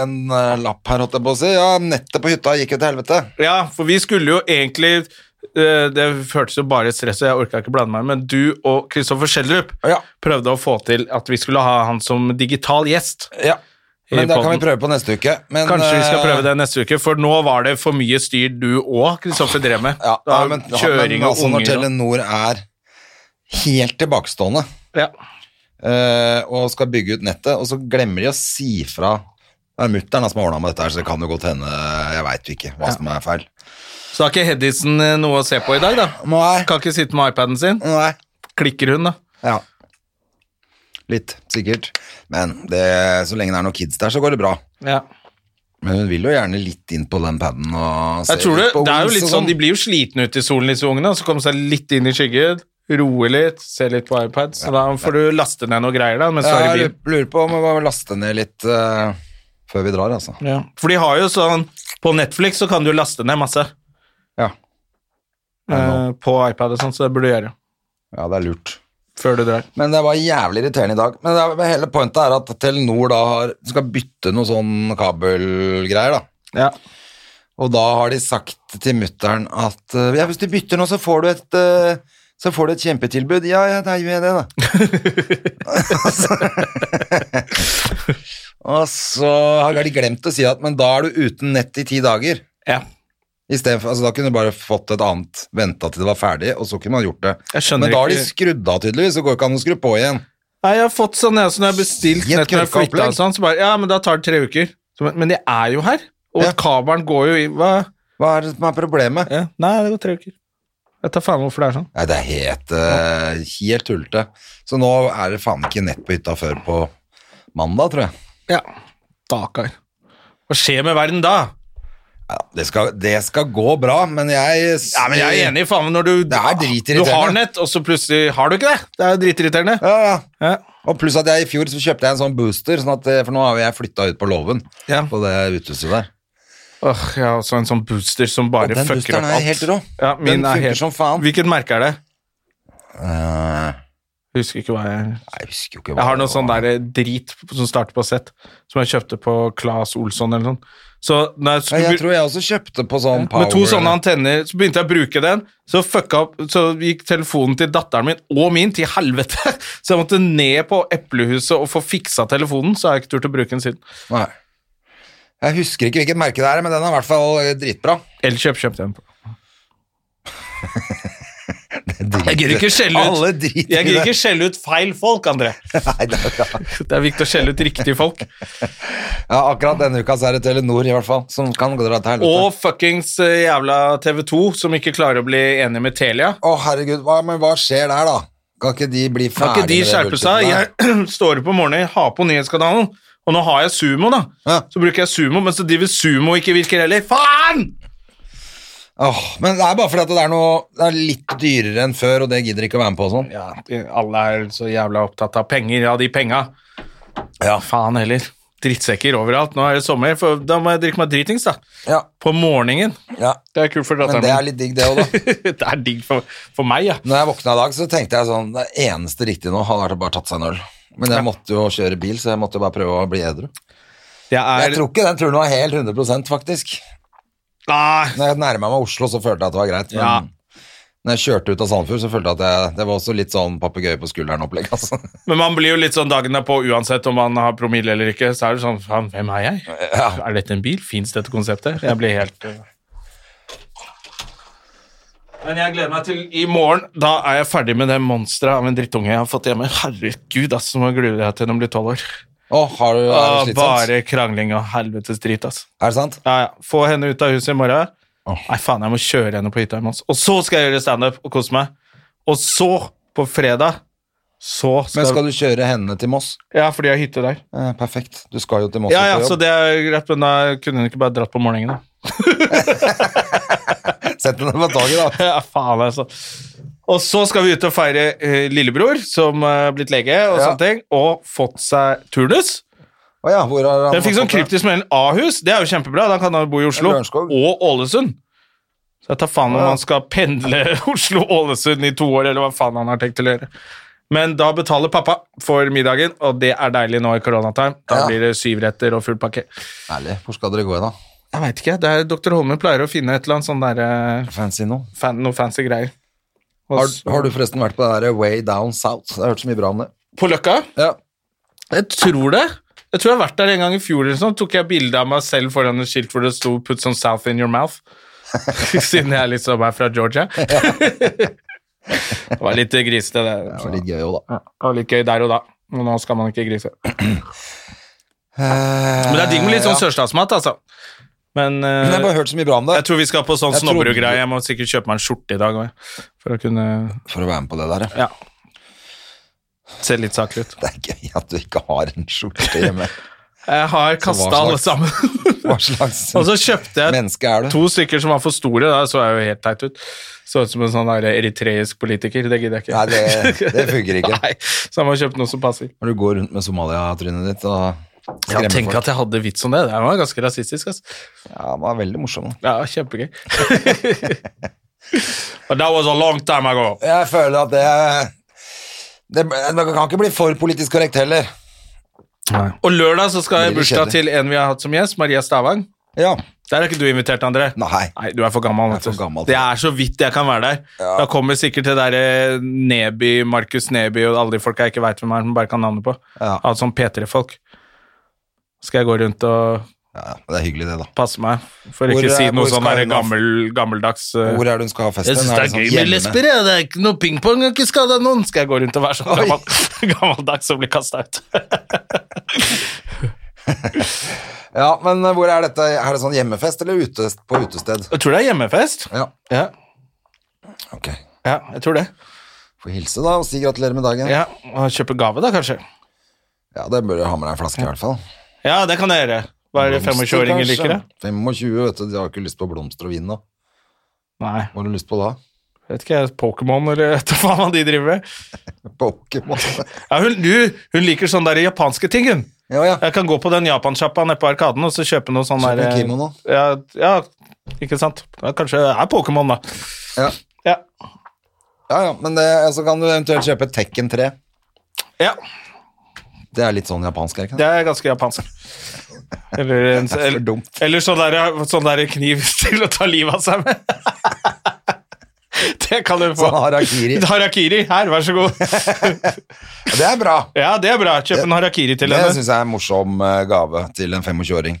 en eh, lapp her, holdt jeg på å si. Ja, nettet på hytta gikk jo til helvete. Ja, for vi skulle jo egentlig eh, Det føltes jo bare stress, og jeg orka ikke blande meg, men du og Kristoffer Schjelderup Ja. prøvde å få til at vi skulle ha han som digital gjest. Ja. I Men det kan podden. vi prøve på neste uke. Men, Kanskje vi skal eh, prøve det neste uke, for nå var det for mye styr du og Kristoffer drev med. Ja, Det var nei, men, kjøring men, og altså, når unger og Telenor er helt tilbakestående ja. eh, og skal bygge ut nettet, og så glemmer de å si fra Det er mutter'n som har ordna med dette, her, så det kan jo godt hende Jeg veit jo ikke hva som er feil. Så har ikke Hedison eh, noe å se på i dag, da. Nei. Kan ikke sitte med iPaden sin. Nei. Klikker hun, da. Ja. Litt, sikkert. Men det, så lenge det er noen kids der, så går det bra. Ja. Men hun vil jo gjerne litt inn på den paden og se Jeg tror det, litt på det er jo Wheels litt og sånn, De blir jo slitne ute i solen, disse ungene. og Så kommer de seg litt inn i skyggen, roe litt, se litt på iPad. Så da får du laste ned noe greier da, mens du er i Jeg bilen. lurer på om vi må laste ned litt eh, før vi drar, altså. Ja. For de har jo sånn På Netflix så kan du jo laste ned masse Ja. eh, på iPad og sånn, så det burde du gjøre ja, det er lurt. før du drar. Men det var jævlig irriterende i dag. Men det er, hele pointet er at Telenor da har, skal bytte noe sånn kabelgreier, da. Ja. Og da har de sagt til mutter'n at eh, ja, hvis du bytter nå, så får du et eh, så får du et kjempetilbud. Ja, ja, da gjør jeg det, da. og så har de glemt å si at men da er du uten nett i ti dager. ja. I stedet for, altså, da kunne du bare fått et annet, venta til det var ferdig, og så kunne man gjort det. Jeg skjønner Men da har de ikke- skrudd av, tydeligvis, så går det ikke an å skru på igjen. Nei, jeg har fått sånn, jeg, så når jeg har bestilt I et nett når jeg kørka flytta opplegg. og sånn, så bare Ja, men da tar det tre uker. Så, men- men jeg er jo her, og Ja. kabelen går jo i hva? Hva er det som er problemet? Ja. Nei, det går tre uker. Jeg tar faen hvorfor det er sånn. Nei, det er helt, eh, helt tullete. Så nå er det faen ikke nett på hytta før på mandag, tror jeg. Ja. Dakar. Hva skjer med verden da? Ja, det, skal, det skal gå bra, men jeg Ja, men jeg er enig, faen, når du Det er dritirriterende. Du har nett, og så plutselig har du ikke det. Det er jo dritirriterende. Ja, ja. Ja. Og pluss at jeg i fjor så kjøpte jeg en sånn booster, sånn at, eh, for nå har jo jeg flytta ut på låven Ja. på det utehuset der. Åh, jeg har også en sånn booster som bare Og den fucker boosteren opp er alt. helt rå. Ja, min Den er funker helt- som faen. Hvilket merke er det? Eh, Husker ikke hva jeg jeg husker jo ikke hva Jeg har det noe sånn var. der drit som starter på Z, som jeg kjøpte på Claes Olsson eller noe sånt. Så når jeg Ja, skulle jeg tror jeg også kjøpte på sånn Power. med to sånne eller- antenner, så begynte jeg å bruke den, så fucka opp, så gikk telefonen til datteren min og min til helvete. Så jeg måtte ned på Eplehuset og få fiksa telefonen, så har jeg ikke turt å bruke den siden. Nei. Jeg husker ikke hvilket merke det er, men den er i hvert fall eh, dritbra. Elkjøp kjøpte jeg den på. Drit- Jeg gidder ikke skjelle ut, Alle driter jeg i gidder det. ikke skjelle ut feil folk, André. Nei, det er bra. Det er viktig å skjelle ut riktige folk. Ja, akkurat denne uka så er det Telenor i hvert fall, som kan gå dra til helvete. Og fuckings eh, jævla TV2, som ikke klarer å bli enig med Telia. Å, herregud, hva, men hva skjer der, da? Kan ikke de bli Kan ferdig ikke de skjerpe seg? Jeg står opp om morgenen, har på nyhetskanalen, og nå har jeg Sumo, da. Ja. Så bruker jeg Sumo, men så driver Sumo ikke virker heller. Faen! Åh, men det er bare fordi at det er noe Det er litt dyrere enn før, og det gidder ikke å være med på og sånn. Ja, alle er så jævla opptatt av penger. Ja, de penga. Ja, faen heller. Drittsekker overalt. Nå er det sommer, for da må jeg drikke meg dritings, da. Ja, På morgenen. ja. Det er kult for Men datteren det er min. litt digg, det òg, da. det er digg for, for meg, ja. Når jeg våkna i dag, så tenkte jeg sånn Det eneste riktige nå hadde vært å bare tatt seg en øl. Men jeg måtte jo kjøre bil, så jeg måtte jo bare prøve å bli edru. Jeg Jeg tror ikke den turen var helt 100 faktisk. Nei, Når jeg nærma meg Oslo, så følte jeg at det var greit. Men Ja. når jeg kjørte ut av Sandefjord, så følte jeg at jeg, det var også litt sånn papegøye på skulderen-opplegg. Altså. Men man blir jo litt sånn dagen derpå uansett om man har promille eller ikke. Så er det sånn faen, hvem er jeg? Er dette en bil? Fins dette konseptet? Jeg blir helt eh. Men jeg gleder meg til i morgen. Da er jeg ferdig med det monsteret av en drittunge jeg har fått hjemme. Herregud, ass, nå gruer jeg til den blir tolv år. Å, har du, er Ah, det slitsomt? bare krangling og helvetes drit, ass. Er det sant? Ja, ja. Få henne ut av huset i morgen. Nei, faen, jeg må kjøre henne på hytta i morgen. Og så skal jeg gjøre standup og kose meg. Og så, på fredag, så skal, Men skal du kjøre henne til Moss? Ja, fordi jeg har hytte der. Eh, perfekt. Du skal jo til Moss Ja, og ja, på så jobb. det er greit, men da kunne hun ikke bare dratt på morgenen, da. Sett henne på toget, da. Ja, faen, altså. Og så skal vi ut og feire eh, lillebror, som er blitt lege, og Ja. sånne ting, og fått seg turnus. Å ja, hvor har han Jeg fikk sånn fått det? kryptisk melding Ahus, det er jo kjempebra, da kan han bo i Oslo. Lørenskog. Og Ålesund. Så jeg tar faen om han skal pendle Oslo-Ålesund i to år, eller hva faen han har tenkt til å gjøre. Men da betaler pappa for middagen, og det er deilig nå i koronatime. Da Ja. blir det syvretter og full pakke. Ærlig, hvor skal dere gå i da? Jeg veit ikke. Det er, Dr. Holme pleier å finne et eller annet sånn derre Fancy nå. fan, noe fancy greier. Og Har, så- har du forresten vært på det der Way Down South? Jeg har hørt så mye bra om det. På Løkka? Ja. Jeg tror det. Jeg tror jeg har vært der en gang i fjor. eller sånn, tok jeg bilde av meg selv foran et skilt hvor det sto 'Put some south in your mouth'. Siden jeg liksom er fra Georgia. det var litt grisete, det. Det var litt gøy òg, da. Ja, det var litt gøy der og da. Men nå skal man ikke grise. Men det er digg med litt sånn sørstatsmat, altså. Men eh, Men jeg har bare hørt så mye bra om det. jeg tror vi skal på sånn Jeg trodde- snobberud-greie. Jeg må sikkert kjøpe meg en skjorte i dag også, for å kunne For å være med på det der, ja. Ja. Ser litt saklig ut. Det er gøy at du ikke har en skjorte hjemme. Jeg har hva kasta slags- alle sammen. Hva slags og så kjøpte jeg menneske er du? to stykker som var for store. Da så jeg jo helt teit ut. Så ut som en sånn der eritreisk politiker. Det gidder jeg ikke. Nei, det, det funker ikke. Nei, Så jeg må kjøpe noe som passer. Når du går rundt med Somalia-trynet ditt og Ja, skremmer tenk folk. at jeg hadde vits om det. Det var ganske rasistisk. ass. Ja, man er veldig morsom. da. Ja, kjempegøy. But that was a long time ago. Jeg føler at det, det Man kan ikke bli for politisk korrekt heller. Og lørdag så skal jeg i Blir det bursdag kjedelig? til en vi har hatt som gjest, Maria Stavang. Ja. Der er ikke du invitert, André. Nei. Nei, du er for gammel. Jeg er vet du. for gammel til det er så vidt jeg kan være der. Da kommer sikkert det derre Neby, Markus Neby og alle de folka jeg ikke veit hvem er, som bare kan navnet på. Ja. Alt sånn P3-folk. Skal jeg gå rundt og Ja, ja, men det er hyggelig, det, da. Passe meg for Hvor ikke å si er- hvor noe skal sånn der hun ha- gammel, gammeldags eh, Hvor er det hun skal ha festen? Jeg syns det er sånn gøy med hjemme? lesber. jeg. Det er ikke noe pingpong, jeg har ikke skada noen. Skal jeg gå rundt og være sånn gammel, gammeldags og bli kasta ut? Ja, men eh, hvor er dette? Er det sånn hjemmefest eller ute, på utested? Jeg tror det er hjemmefest. Ja, Ja, ok. ja jeg tror det. Få hilse, da, og si gratulerer med dagen. Ja, og Kjøpe gave, da, kanskje. Ja, det bør du ha med deg en flaske, i hvert fall. Ja, det kan jeg gjøre. Hva er det Blomster, 25-åringer liker? det? kanskje? 25, vet du. De har ikke lyst på blomster og vin nå. Nei, Hva har du lyst på da? vet ikke jeg. Pokémon, eller vet du faen hva de driver med. Pokémon. Ja, hun, du, hun liker sånne der japanske ting, hun. Ja, ja. Jeg kan gå på den japansjappa nede på Arkaden og så kjøpe noe sånn Kjøpe der en kimono. Ja, ja, ikke sant. Ja, kanskje det er Pokémon, da. Ja. Ja. Ja, ja, men det, så kan du eventuelt kjøpe Tekken 3. ja. Det er litt sånn japansk, er det ikke det? Det er ganske japansk. Eller, en, for eller, dumt. eller sånn der, sånn der kniv til å ta livet av seg med. Det kan du få. Sånn harakiri. Harakiri. Her, vær så god. Det er bra. Ja, det er bra. Kjøp en harakiri til Det henne. syns jeg er en morsom eh, gave til en 25-åring.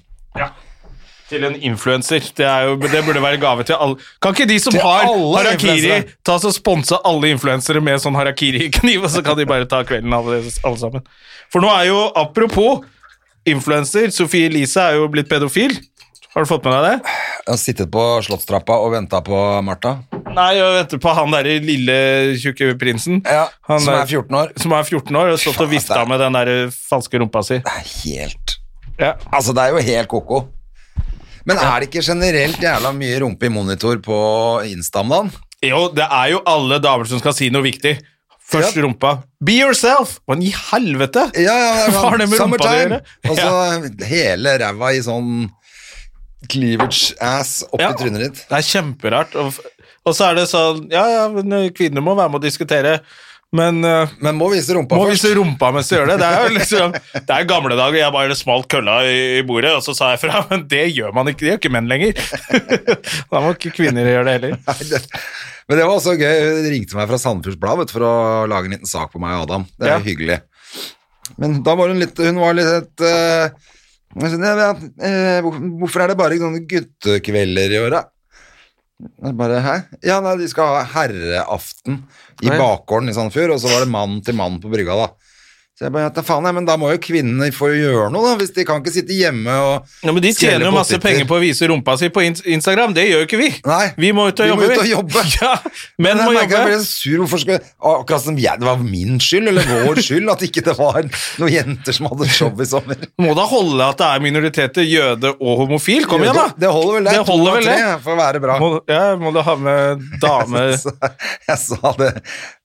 Til en influenser. Det, er jo- det burde være gave til alle. Kan ikke de som Til har alle harakiri, influensere. ta og sponse alle influensere med sånn harakiri-kniv, og så kan de bare ta kvelden alle, alle sammen. For nå er jo, apropos influenser, Sofie Elise er jo blitt pedofil. Har du fått med deg det? Jeg har sittet på slottstrappa og venta på Martha, Nei, og vet du, på han derre lille tjukke prinsen. Ja, Han som er 14 år. Som er 14 år og stått og Faen, altså. vifta det er- med den der eh, falske rumpa si. Det er helt Ja. Altså, det er jo helt koko. Men er det ikke generelt jævla mye rumpe i monitor på Insta om dagen? Jo, det er jo alle damer som skal si noe viktig. Først Ja. rumpa. Be yourself! Hva i helvete? Ja, ja, det er Hva har det med rumpa å summertime. gjøre? Og så hele ræva i sånn cleavage ass oppi Ja. trynet ditt. Det er kjemperart. Og, f- og så er det sånn Ja, ja, men eh, kvinner må være med og diskutere, men eh, Men må vise rumpa må først. vise rumpa mens du gjør det. Det er jo liksom, det er gamle dager. Jeg bare smalt kølla i i bordet, og så sa jeg fra. Men det gjør man ikke. Det gjør ikke menn lenger. da må ikke kvinner gjøre det heller. Nei, det- Men det var også gøy. De ringte meg fra Sandefjords Blad vet du, for å lage en liten sak på meg og Adam. Det er Ja. jo hyggelig. Men da var hun litt Hun var litt eh, jeg skjønner, ja, eh, hvor- Hvorfor er det bare sånne guttekvelder i året? Jeg Bare, Hæ? Ja, nei, de skal ha herreaften i Å, ja. bakgården i Sandefjord, og så var det mann til mann på brygga, da. Så jeg bare, ja, ta faen, jeg, men da må jo kvinnene få gjøre noe, da, hvis de kan ikke sitte hjemme og Ja, men De skrelle tjener jo masse poteter. penger på å vise rumpa si på ins- Instagram. Det gjør jo ikke vi. Nei, vi må ut og vi må jobbe. ut og jobbe. Ja, menn Men jeg må merker jobbe. jeg ble så sur, hvorfor skal Akkurat som jeg, det var min skyld, eller vår skyld, at ikke det var noen jenter som hadde show i sommer. Må da holde at det er minoriteter, jøde og homofil. Kom igjen, da! Det holder vel det. Det holder vel det. For å være bra. Må, ja, må du ha med dame Så Jeg sa det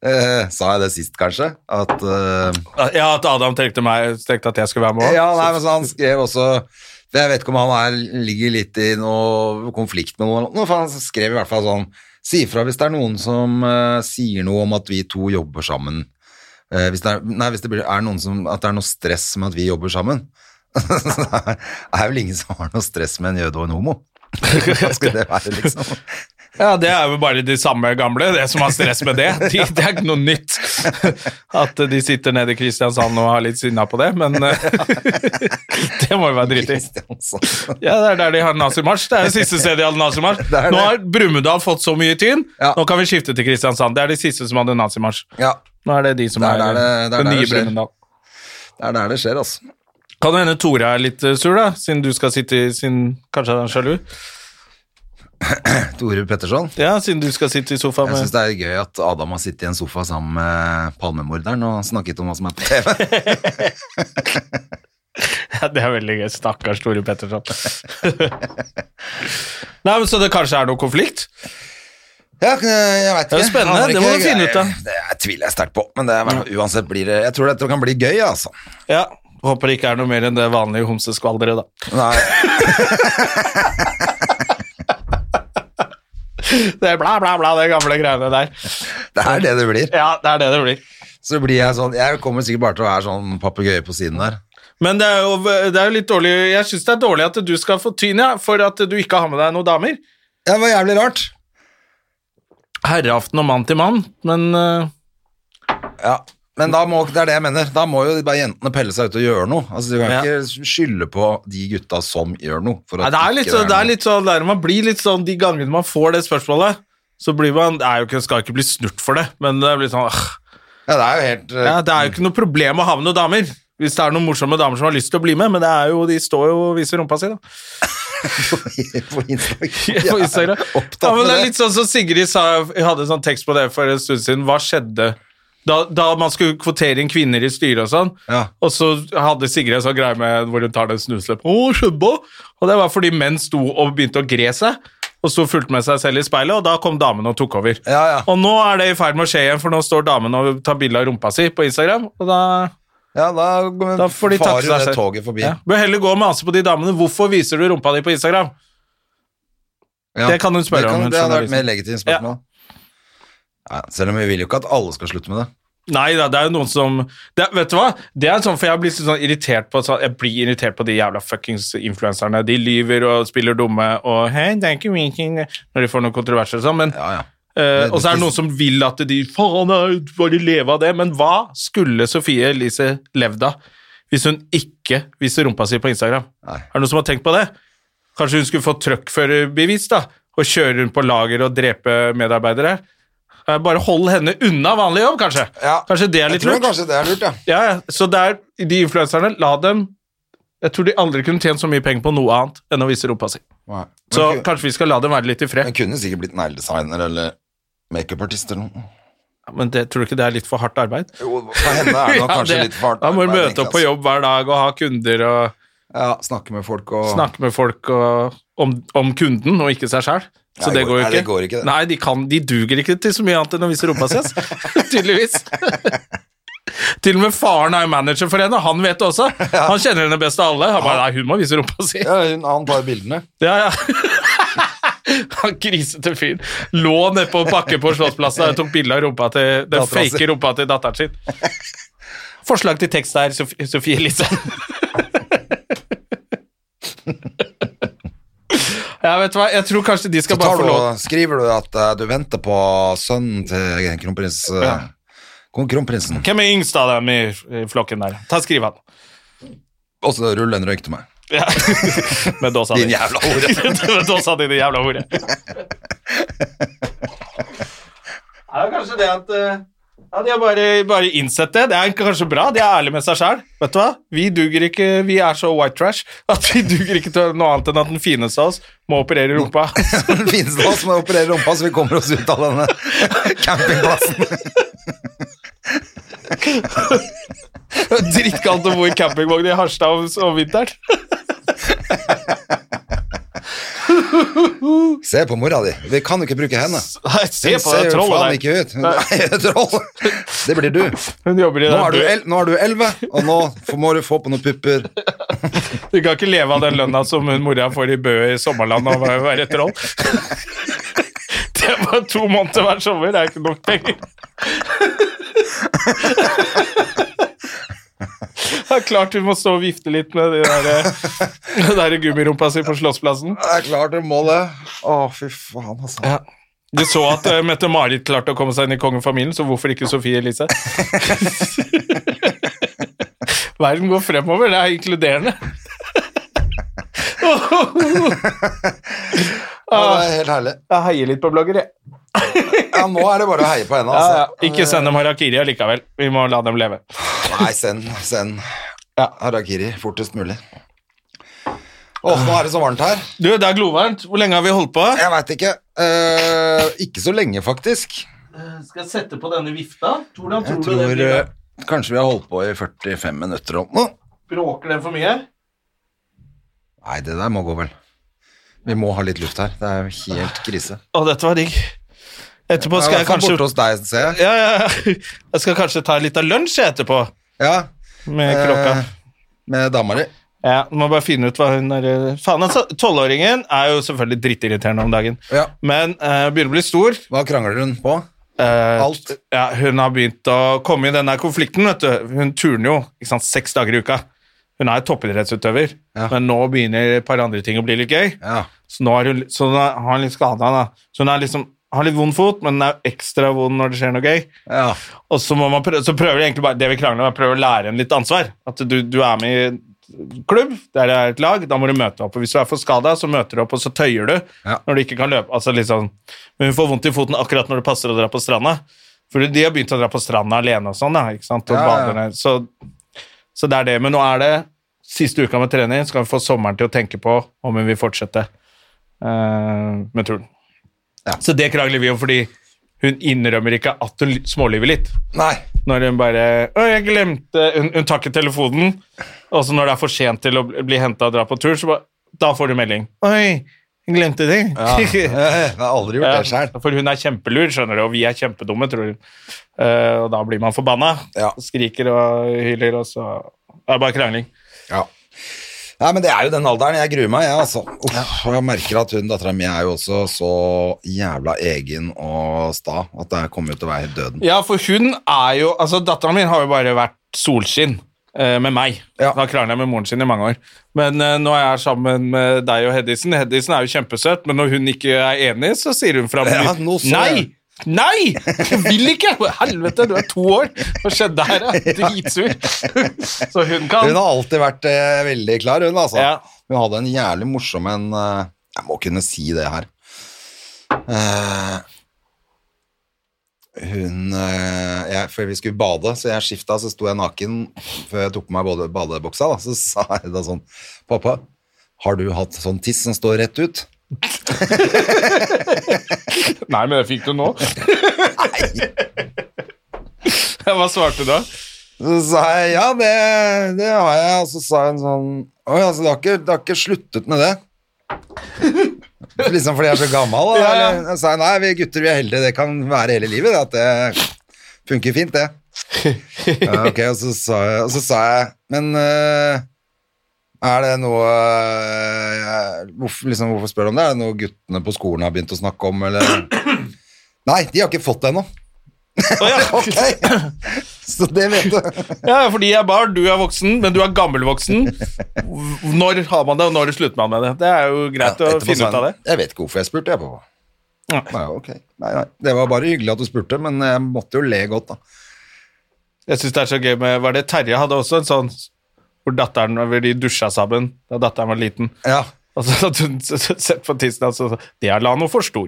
eh, Sa jeg det sist, kanskje? At eh, Ah, Ja, at Adam tenkte, meg, tenkte at jeg skulle være med òg. Ja, nei, men så han skrev også for Jeg vet ikke om han er, ligger litt i noe konflikt med noen, eller noe, for han skrev i hvert fall sånn Si ifra hvis det er noen som eh, sier noe om at vi to jobber sammen. Eh, hvis det er, nei, hvis det blir, er noen som At det er noe stress med at vi jobber sammen. Så det er er vel ingen som har noe stress med en jøde og en homo. Hva skulle det være, liksom? Ja, det er jo bare de samme gamle, det som har stress med det. De, det er ikke noe nytt at de sitter nede i Kristiansand og har litt sinna på det, men eh, det må jo være drittig. Kristiansand. Ja, det er der de har nazimarsj. Det er det siste stedet de hadde nazimarsj. Det er det. Nå har Brumunddal fått så mye tyn, Ja. nå kan vi skifte til Kristiansand. Det er de siste som hadde nazimarsj. Ja, Nå er det de som Det er er, der det- det den er der det nye skjer. Brumunddal. det er der det skjer, altså. Kan det hende Tora er litt eh, sur, da, siden du skal sitte i sin Kanskje er han sjalu? Tore Petterson. Ja, siden du skal sitte i sofaen Jeg med syns det er gøy at Adam har sittet i en sofa sammen med Palmemorderen og snakket om hva som er på TV. Ja, det er veldig gøy. Stakkars Tore Petterson. Nei, men Så det kanskje er noe konflikt? Ja, jeg vet ikke. Det er jo spennende, Aner det ikke. må du finne ut av. Det jeg tviler jeg sterkt på, men det er, uansett blir det Jeg tror dette kan bli gøy, altså. Ja. Håper det ikke er noe mer enn det vanlige homseskvalderet, da. Nei, Det er bla, bla, bla, de gamle greiene der. det er det det blir. Ja, det er det det blir. Så blir jeg sånn Jeg kommer sikkert bare til å være sånn papegøye på siden der. Men det er jo, det er jo litt dårlig Jeg syns det er dårlig at du skal få tyn, ja, for at du ikke har med deg noen damer. Ja, det var jævlig rart. Herreaften og mann til mann, men eh, Ja. Men da må, det er det jeg mener. Da må jo bare jentene pelle seg ut og gjøre noe. Altså, Du kan Ja. ikke skylde på de gutta som gjør noe. for Nei, at det er litt, ikke sånn- det noe. er litt sånn der man blir litt sånn De gangene man får det spørsmålet, så blir man Det er jo ikke, skal ikke bli snurt for det, men det blir sånn ah, Ja, det er jo helt eh, ja, Det er jo ikke noe problem å ha med noen damer. Hvis det er noen morsomme damer som har lyst til å bli med, men det er jo, de står jo og viser rumpa si, da. på Instagram. På Instagram. Jeg er opptatt Ja, men med det det. er litt sånn som Sigrid sa, jeg hadde en sånn tekst på det for en stund siden. Hva skjedde da, da man skulle kvotere inn kvinner i styret og sånn? Ja. Og så hadde Sigrid en sånn greie med hvor hun tar den snusløpet. Å, skjønne! Og det var fordi menn sto og begynte å gre seg, og så fulgte med seg selv i speilet, og da kom damene og tok over. Ja, ja. Og nå er det i ferd med å skje igjen, for nå står damene og tar bilde av rumpa si på Instagram, og da ja, da, da får de takke farer seg det selv. toget forbi. Ja. Bør heller gå og mase på de damene. Hvorfor viser du rumpa di på Instagram? Ja. Det kan hun spørre om, hun Det hadde journalisten. vært et mer legitimt spørsmål. Ja, selv om vi vil jo ikke at alle skal slutte med det. Nei da, det er jo noen som det, Vet du hva? Det er sånn, for Jeg blir sånn irritert på sånn, Jeg blir irritert på de jævla fuckings influenserne. De lyver og spiller dumme og hey, det er ikke min ting», når de får noen kontroverser og sånn. Men, Ja, ja. eh, og så er det- det noen som vil at de Faen, nei, bare leve av det. Men hva skulle Sofie Elise levd av hvis hun ikke viser rumpa si på Instagram? Nei. Er det noen som har tenkt på det? Kanskje hun skulle få truckførerbevis, da? Og kjøre rundt på lager og drepe medarbeidere? Eh, Bare hold henne unna vanlig jobb, kanskje. Ja. Kanskje det er litt jeg tror lurt? kanskje det er lurt, ja. Ja, ja. Så der, de influenserne, la dem Jeg tror de aldri kunne tjent så mye penger på noe annet enn å vise rumpa si. Nei. Men Så ku- kanskje vi skal la dem være litt i fred. men kunne sikkert blitt negledesigner eller makeupartist eller noe. Ja, Men det, tror du ikke det er litt for hardt arbeid? Jo, for henne er det nok kanskje det- litt fart. Da må du men jeg møte tenker, opp på jobb hver dag og ha kunder og altså, Ja, snakke med folk og snakke med folk og, om, om kunden og ikke seg sjøl. Så det Nei, det går går- jo nei, ikke. det går ikke, det. Nei, de, kan, de duger ikke til så mye annet enn å vise rumpa si, ass. tydeligvis. til og med faren er jo manager for henne, han vet det også. Han kjenner henne best av alle. Han bare, nei, hun må vise rumpa si. Ja, hun, han tar bildene. Ja, ja. Han grisete fyren. Lå nede på bakke på Slottsplassen og tok bilde av rumpa til den Datteren fake sin. rumpa til datteren sin. Forslag til tekst der, Sof- Sofie Elise. Ja, vet du hva, jeg tror kanskje de Så skal bare tar få du lov og skriver du at eh, du venter på sønnen til kronprins eh, Ja. kon- Kronprinsen. Hvem er yngst av dem i i flokken der? Ta Skriv han. Og så rull en røyk til meg. Ja. Med dåsa Din jævla hore. Med dåsa di, din jævla hore. Ja, kanskje det at eh, Ja, de har bare, bare innsett det. Det er kanskje bra. De er ærlige med seg sjæl. Vet du hva? Vi duger ikke Vi er så white trash at vi duger ikke til noe annet enn at den fineste av oss må operere rumpa. Den finnes det oss som opererer rumpa, så vi kommer oss ut av denne campingplassen. Drittkaldt å bo i campingvogn i Harstad om, om vinteren. Se på mora di. Vi kan jo ikke bruke henne. Nei, se på det Hun ser jo faen trollet der. ikke ut. Hun er jo troll. Det blir du. Hun jobber i Nå er du, det. el nå er du 11, og nå får- må du få på noen pupper. Du kan ikke leve av den lønna som hun mora får i Bø i sommerland og være- være troll. Det er bare to måneder hver sommer. Det er ikke nok penger. Det er klart hun må stå og vifte litt med den der, de der gummirumpa si på Slottsplassen. Det er klart du må det. Å, fy faen, altså. Du så at eh, Mette-Marit klarte å komme seg inn i kongefamilien, så hvorfor ikke Sofie Elise? Verden går fremover, det er inkluderende. Ja, Ah. det er helt herlig. Jeg heier litt på blogger, jeg. eh, Ja, nå er det bare å heie på henne, Ja, ja. altså. Ikke send dem harakiri allikevel. Vi må la dem leve. Nei, send, send. Harakiri fortest mulig. Åh, nå er det så varmt her. Du, det er glovarmt. Hvor lenge har vi holdt på? Jeg veit ikke. Eh, ikke så lenge, faktisk. Eh, Skal jeg sette på denne vifta? Hvordan Jeg tror eh, kanskje vi har holdt på i 45 minutter om nå. Bråker den for mye? Nei, det der må gå vel. Vi må ha litt luft her. Det er jo helt krise. Å, dette var digg. Etterpå skal Jeg er i hvert jeg fall kanskje borte hos deg, ser jeg. ja, ja. ja. Jeg skal kanskje ta litt av lunsj jeg, etterpå Ja, med klokka. eh, med dama di. Ja, Må bare finne ut hva hun er Faen, altså. Tolvåringen er jo selvfølgelig drittirriterende om dagen. Ja. Men eh, begynner å bli stor. Hva krangler hun på? Eh, Alt. Ja, hun har begynt å komme i den der konflikten, vet du. Hun turner jo ikke sant, seks dager i uka. Hun er toppidrettsutøver, Ja. men nå begynner et par andre ting å bli litt gøy. Ja. Så nå, er hun, så nå har hun litt skada, da. Så hun er liksom har litt vond fot, men den er ekstra vond når det skjer noe gøy. Ja. Og så, må man prøve, så prøver de egentlig bare det vi krangler om, er å prøve å lære en litt ansvar. At du, du er med i en klubb, der det er et lag, da må du møte opp. Og hvis du er for skada, så møter du opp, og så tøyer du Ja. når du ikke kan løpe. Altså liksom, men hun får vondt i foten akkurat når det passer å dra på stranda. For de har begynt å dra på stranda alene og sånn, da, ikke sant? Og Ja, ja. bader ned. Så, så det er det. Men nå er det siste uka med trening, så kan vi få sommeren til å tenke på om hun vil fortsette eh, med turen. Ja. Så det krangler vi om, fordi hun innrømmer ikke at hun smålyver litt Nei. når hun bare Å, jeg glemte Hun, hun tar ikke telefonen. Og så når det er for sent til å bli- bli henta og dra på tur, så bare, da får du melding. Oi, jeg glemte det. Ja. Jeg har aldri gjort det sjøl. Ja, for hun er kjempelur, skjønner du, og vi er kjempedumme, tror hun. Eh, og da blir man forbanna. Ja. Skriker og hyler, og så Det er bare krangling. Ja. Nei, men det er jo den alderen. Jeg gruer meg, jeg, altså. Uff, og jeg merker at hun, dattera mi, er jo også så jævla egen og sta at det kommer jo til å være helt døden. Ja, for hun er jo Altså, datteren min har jo bare vært solskinn eh, med meg. Ja. Da krangla jeg med moren sin i mange år. Men eh, nå er jeg sammen med deg og Hedisen. Hedisen er jo kjempesøt, men når hun ikke er enig, så sier hun fra Ja, mot- nå så Nei! jeg. Nei! Jeg vil ikke! Helvete, du er to år! Hva skjedde her? Jeg er dritsur. Så hun kan Hun har alltid vært eh, veldig klar, hun, altså. Ja. Hun hadde en jævlig morsom en eh, Jeg må kunne si det her. Eh, hun eh, jeg, Før vi skulle bade, så jeg skifta, så sto jeg naken før jeg tok på meg både badebuksa. Da, så sa jeg da sånn Pappa, har du hatt sånn tiss som står rett ut? Nei, men det fikk du nå. Nei. Hva svarte du da? Så sa jeg ja, det, det har jeg. Og så sa hun sånn Å ja, så du har, ikke, du har ikke sluttet med det? liksom fordi jeg er så gammel? Da, Ja, ja. eller? Jeg sa nei, vi gutter vi er heldige, det kan være hele livet. det, At det funker fint, det. Ja, ok, og så sa jeg, og så sa jeg Men eh, er det noe eh, hvorfor, liksom, hvorfor spør du om det? Er det noe guttene på skolen har begynt å snakke om, eller Nei, de har ikke fått det ennå. Å, ja. Ok, så det vet du. Ja, fordi jeg er barn, du er voksen, men du er gammelvoksen. Når har man det, og når slutter man med det? Det er jo greit å Ja, etterpå finne sa ut av det. han, Jeg vet ikke hvorfor jeg spurte, jeg på. Ja. Nei, ok. Nei, nei. Det var bare hyggelig at du spurte, men jeg måtte jo le godt, da. Jeg synes det er så gøy med Var det Terje hadde også en sånn hvor datteren hvor de dusja sammen da datteren var liten. Ja. Og så hadde hun s- s- sett på tissen og så sa Det er Lano for stor.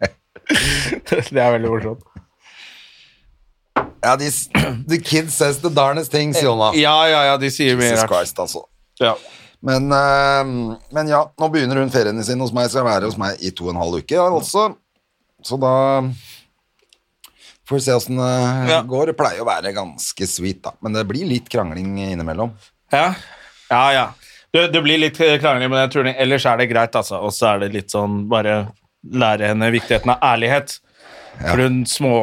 det er veldig morsomt. ja de, the kid says the darnest things, Jonna. Ja, ja, ja, de sier mye Ah. Jesus rart. Christ, altså. Ja. Men, eh, men ja, nå begynner hun feriene sine hos meg, skal være hos meg i to og en halv uke, ja, altså. Så da får vi se åssen det Ja. går. Det pleier å være ganske sweet, da. Men det blir litt krangling innimellom. Ja, ja. ja. Det, det blir litt eh, krangling med den turningen, ellers er det greit, altså. Og så er det litt sånn bare lære henne viktigheten av ærlighet. For hun små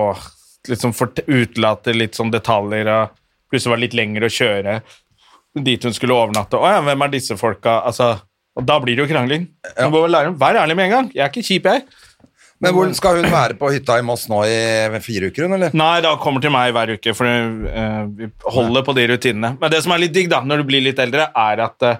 liksom fort- utelater litt sånn detaljer og plutselig var det litt lengre å kjøre dit hun skulle overnatte. Å ja, hvem er disse folka? Altså, og da blir det jo krangling. Du må bare lære henne, Vær ærlig med en gang. Jeg er ikke kjip, jeg. Men hvor skal hun være på hytta i Moss nå i fire uker, hun, eller? Nei, da kommer til meg hver uke, for eh, vi holder på de rutinene. Men det som er litt digg da, når du blir litt eldre, er at eh,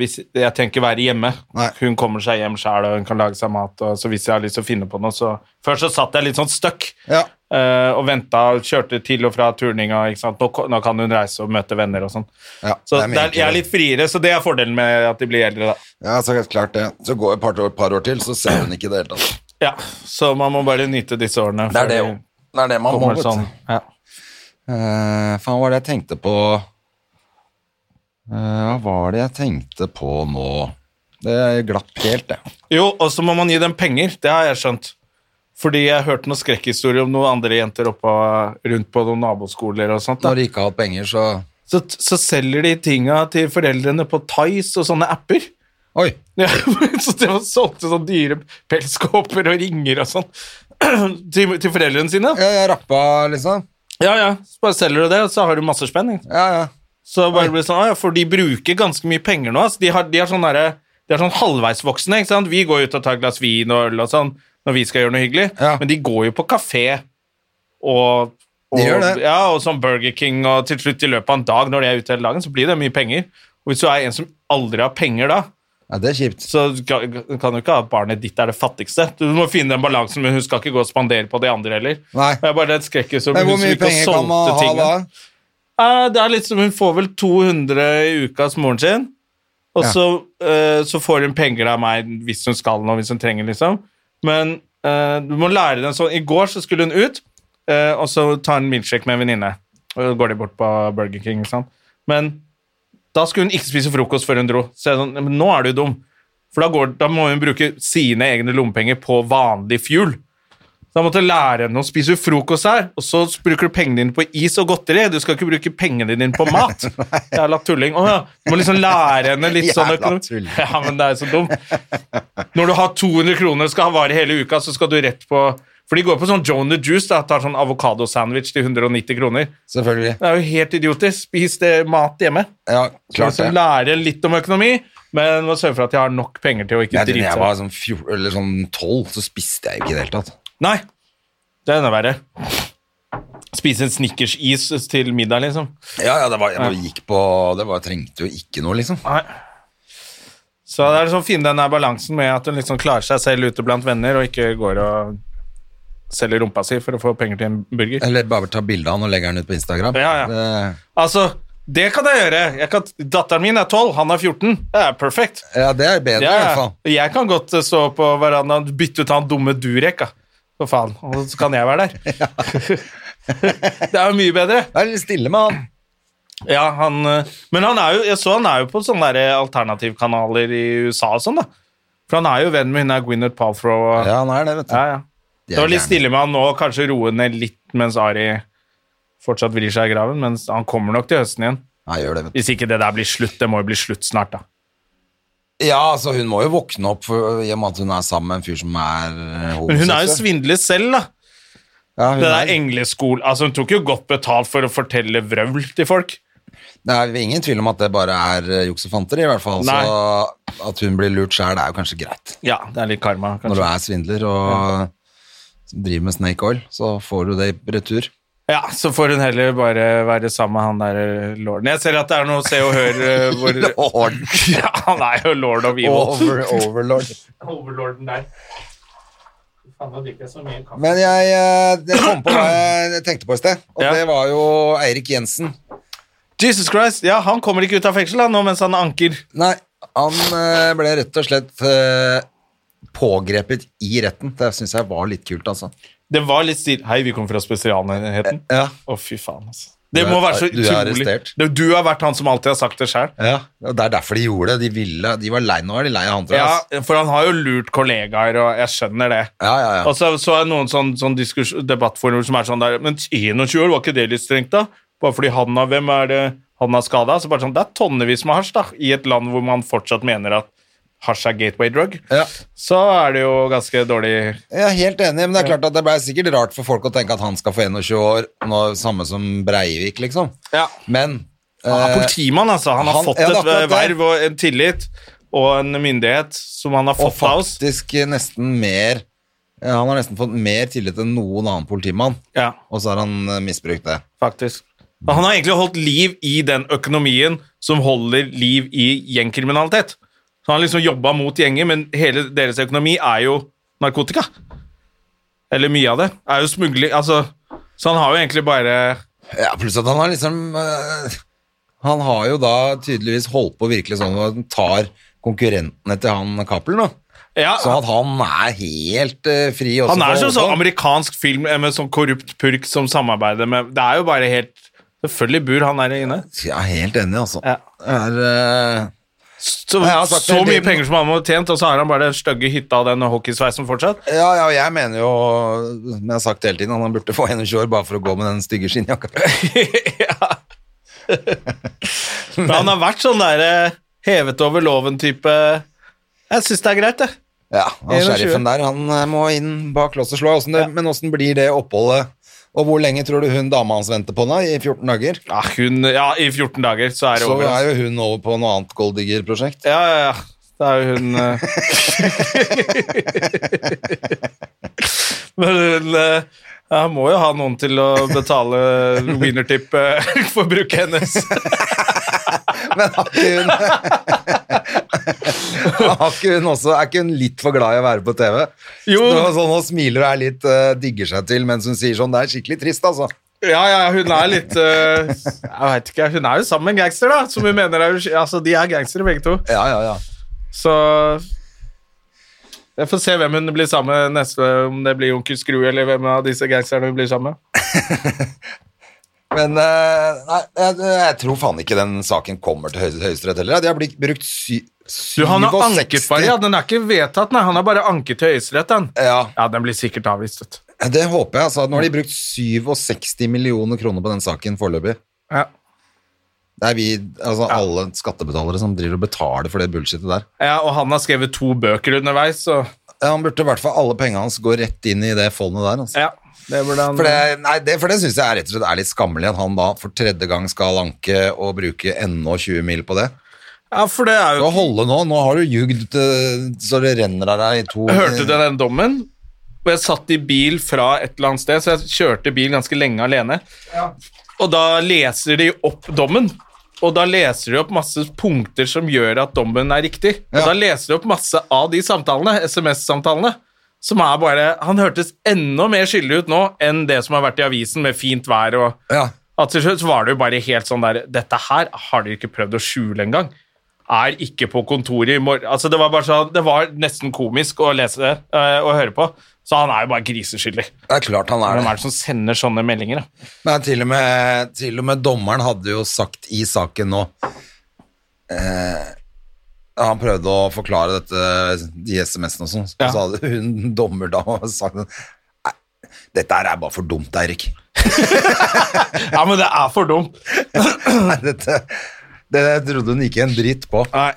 hvis, jeg tenker være hjemme. Nei. Hun kommer seg hjem sjøl, og hun kan lage seg mat. Og, så hvis jeg har lyst til å finne på noe, så Før så satt jeg litt sånn støkk. Ja. eh, og venta, kjørte til og fra turninga. Ikke sant? Nå, ko- nå kan hun reise og møte venner og sånn. Ja, så det er det er, mye jeg enklere. er litt friere, så det er fordelen med at de blir eldre, da. Ja, så klart det. Så går et par år, par år til, så ser hun ikke det hele tatt. Ja, Så man må bare nyte disse årene. Det før er det jo. Det er det man må, kommer vet du. Sånn. Ja. Eh, faen, hva var det jeg tenkte på Eh, Hva var det jeg tenkte på nå? Det glapp helt, det. Jo, og så må man gi dem penger. Det har jeg skjønt. Fordi jeg hørte noen skrekkhistorier om noen andre jenter oppe rundt på noen naboskoler og sånt. Når Da. de ikke har hatt penger, så Så, så selger de tinga til foreldrene på Tice og sånne apper. Oi! Ja, så de har solgt sånne dyre pelskåper og ringer og sånn til, til foreldrene sine. Ja, jeg rappa, liksom. Ja, ja, så bare selger du det, og så har du masse spenning. Ja, ja. Så bare blir det sånn, «Å ja, for de bruker ganske mye penger nå. ass. De, har, de, er sånn derre- de er sånn halvveisvoksne. ikke sant? Vi går ut og tar et glass vin og øl og sånn når vi skal gjøre noe hyggelig, Ja. men de går jo på kafé og, og De gjør det. Ja, og sånn Burger King, og til slutt i løpet av en dag når de er ute hele dagen, så blir det mye penger. Og hvis du er en som aldri har penger da, Ja, det er kjipt. Så du kan du kan jo ikke ha barnet ditt er det fattigste. Du må finne den balansen, men hun skal ikke gå og spandere på de andre heller. Nei. Det er bare et skrekk som Men hun hvor som mye gikk og penger kan man solgte ha da? tingene. Eh, Det er litt som hun får vel 200 i uka hos moren sin, og Ja. så, eh, så får hun penger av meg hvis hun skal noe, hvis hun trenger, liksom. Men eh, du må lære den sånn. I går så skulle hun ut, eh, og så ta en milkshake med en venninne. Og så går de bort på Burger King, ikke sant. Men da skulle hun ikke spise frokost før hun dro. Så jeg sånn, "Men nå er du dum. For da, går, da må hun bruke sine egne lommepenger på vanlig fuel. Så da måtte jeg lære henne å spise frokost her, og så bruker du pengene dine på is og godteri. Du skal ikke bruke pengene dine på mat. Jævla tulling. Å ja. Du må liksom lære henne litt sånn Jævla økonomi. tulling. Ja, men det er så dumt. Når du har 200 kroner og skal ha varer hele uka, så skal du rett på For de går på sånn Joan the Juice, da, tar sånn avokadosandwich til 190 kroner. Selvfølgelig. Det er jo helt idiotisk. Spis det mat hjemme. Ja, Så klart liksom det. lære litt om økonomi, men må sørge for at jeg har nok penger til å ikke Jeg, da drite jeg seg ut. var sånn, fjor, eller sånn 12, så spiste jeg jo ikke i det hele tatt. Nei, det er enda verre. Spise en Snickers-is til middag, liksom. Ja, ja, det var, jeg bare gikk på Det var, jeg trengte jo ikke noe, liksom. Nei. Så det er liksom å finne den der balansen med at hun liksom klarer seg selv ute blant venner, og ikke går og selger rumpa si for å få penger til en burger. Eller bare ta bilde av han og legge han ut på Instagram. Eh, Ja, ja. Det, Altså, det kan jeg gjøre. Jeg kan, datteren min er 12, han er 14. Det er perfekt. ja, det er bedre, Ja, i ja. hvert fall. Jeg kan godt eh, stå på verandaen, bytte ut han dumme Durek, da. For faen. Og så kan jeg være der. det er jo mye bedre. Det er litt stille med han. Ja, han, eh, men han er jo, jeg så han er jo på sånne der eh, alternativkanaler i USA og sånn, da. For han er jo venn med hun der Gwyneth Palthrow. Og, Ja, han er det, vet du. ja, ja. De er Det var litt gærne. stille med han nå, kanskje roe ned litt mens Ari fortsatt vrir seg i graven, mens han kommer nok til høsten igjen. Ja, gjør det, vet du. Hvis ikke det der blir slutt. Det må jo bli slutt snart, da. Ja, altså, hun må jo våkne opp for- i og med at hun er sammen med en fyr som er eh, homoseksuell. Men hun er jo svindlet selv, da. Ja, hun Det er, der engleskole Altså, hun tok jo godt betalt for å fortelle vrøvl til folk. det er ingen tvil om at det bare er eh, juks og fanteri, i hvert fall. Så at hun blir lurt sjæl, er jo kanskje greit. Ja, det er litt karma, Når du kanskje. er svindler og driver med snake oil, så får du det i retur. Ja, så får hun heller bare være sammen med han der eh, lorden. Jeg ser at det er noe Se og Hør eh, hvor Lord. Ja, han er jo lord of evil. Over, overlord. Overlorden der. Fy faen, da drikker jeg så mye kaffe. Men jeg, eh, jeg kom på hva jeg tenkte på i sted, og Ja. det var jo Eirik Jensen. Jesus Christ! Ja, han kommer ikke ut av fengsel, han, nå mens han anker. Nei, han eh, ble rett og slett eh, pågrepet i retten. Det syns jeg var litt kult, altså. Det var litt stil Hei, vi kom fra Spesialenheten. Ja. Å, fy faen, altså. Det Du er- må være så du er utrolig. arrestert. Det- Du har vært han som alltid har sagt det sjøl. Og det er derfor de gjorde det. De, ville, de var lei nå, er de lei av han, tror jeg. Ja, altså. for han har jo lurt kollegaer, og jeg skjønner det. Ja, ja, ja. Og så så jeg noen sånn, sånn diskurs- debattforum som er sånn der Men 21 år, var ikke det litt strengt, da? Bare fordi han har hvem er det han har skada? Så bare sånn, det er tonnevis med hasj, da, i et land hvor man fortsatt mener at hasj er gateway drug. Ja. Så er det jo ganske dårlig Jeg er helt enig, men det er klart at det ble sikkert rart for folk å tenke at han skal få 21 år, nå, samme som Breivik, liksom. Ja. Men Han er eh, politimann, altså. Han har han- fått ja, det er et eh, akkurat det. verv og en tillit og en myndighet som han har Og fått av oss. faktisk eh, nesten mer eh, Han har nesten fått mer tillit enn noen annen politimann, Ja, og så har han eh, misbrukt det. faktisk. Og han har egentlig holdt liv i den økonomien som holder liv i gjengkriminalitet. Så han har liksom jobba mot gjenger, men hele deres økonomi er jo narkotika. Eller mye av det. Er jo smugling Altså, så han har jo egentlig bare Ja, pluss at han har liksom eh, Han har jo da tydeligvis holdt på virkelig sånn at han tar konkurrentene til han Cappelen, da. Ja, Så at han er helt eh, fri også. han er som for å sånn holde på. amerikansk film eh, med sånn korrupt purk som samarbeider med Det er jo bare helt Selvfølgelig bor han der inne. Jeg er helt enig, altså. Ja. Det Er, eh, Så, Nei, jeg har sagt så det hele mye tiden. penger som han må ha tjent, og så har han bare den stygge hytta og den hockeysveisen fortsatt. ja, ja, og jeg mener jo Men jeg har sagt det hele tiden, han burde få 21 år bare for å gå med den stygge skinnjakka. ja. Men han har vært sånn der eh, hevet over loven-type Jeg syns det er greit, det. Ja, han 21. sheriffen der, han eh, må inn bak lås og slå. Hvordan det, Men åssen blir det oppholdet? Og hvor lenge tror du hun dama hans venter på nå? I 14 dager? Ja, hun, ja, i 14 dager så er det Så over. altså. er jo hun over på noe annet golddigger-prosjekt. Ja, ja, ja. Det er jo hun eh. Men hun eh, Jeg må jo ha noen til å betale wienertip eh, for bruket hennes. Men har ikke hun Har ikke hun også Er ikke hun litt for glad i å være på TV? Jo. Så det var Sånn, hun smiler og er litt eh, digger seg til mens hun sier sånn Det er skikkelig trist, altså. Ja, ja, hun er litt eh, Jeg vet ikke, hun er jo sammen med en gangster, da. Som hun mener er Altså, de er gangstere, begge to. Ja, ja, ja. Så jeg får se hvem hun blir sammen med neste Om det blir onkel Skru eller hvem av disse gangsterne hun blir sammen med. Men eh, nei, jeg, jeg tror faen ikke den saken kommer til høy- Høyesterett heller. De har blitt brukt sy, Du, han har 67 anket bare, ja, Den er ikke vedtatt, nei. Han har bare anket til Høyesterett, den. Ja, Ja, den blir sikkert avvist, vet du. det håper jeg. Altså, nå har de brukt 67 millioner kroner på den saken foreløpig. Ja. Det er vi, altså alle skattebetalere som driver og betaler for det bullshitet der. ja, og han har skrevet to bøker underveis, så Ja, Han burde i hvert fall alle pengene hans gå rett inn i det fondet der. Altså. ja. Det burde han For det, nei, det, for det syns jeg er rett og slett er litt skammelig at han da for tredje gang skal anke og bruke ennå 20 mil på det. Ja, for det er Du må jo holde nå, nå har du jugd til- så det renner av deg i to Hørte du den dommen? Og jeg satt i bil fra et eller annet sted, så jeg kjørte bil ganske lenge alene. Og da leser de opp dommen, og da leser de opp masse punkter som gjør at dommen er riktig. Og Ja. da leser de opp masse av de samtalene, SMS-samtalene, som er bare Han hørtes enda mer skyldig ut nå enn det som har vært i avisen med fint vær og Ja. At til slutt så var det jo bare helt sånn der Dette her har de ikke prøvd å skjule engang. Er ikke på kontoret i morgen Altså, det var bare sånn Det var nesten komisk å lese det eh, og høre på. Så han er jo bare griseskyldig. Det er klart han er Hvem det. er det som sender sånne meldinger, da? Men til og, med, til og med dommeren hadde jo sagt i saken nå eh, Han prøvde å forklare dette, de SMS-ene og sånn, så Ja. hadde hun dommerdama sagt «Nei, dette her er bare for dumt, Eirik. Ja, men det er for dumt. Nei, dette det trodde hun ikke en dritt på. Nei.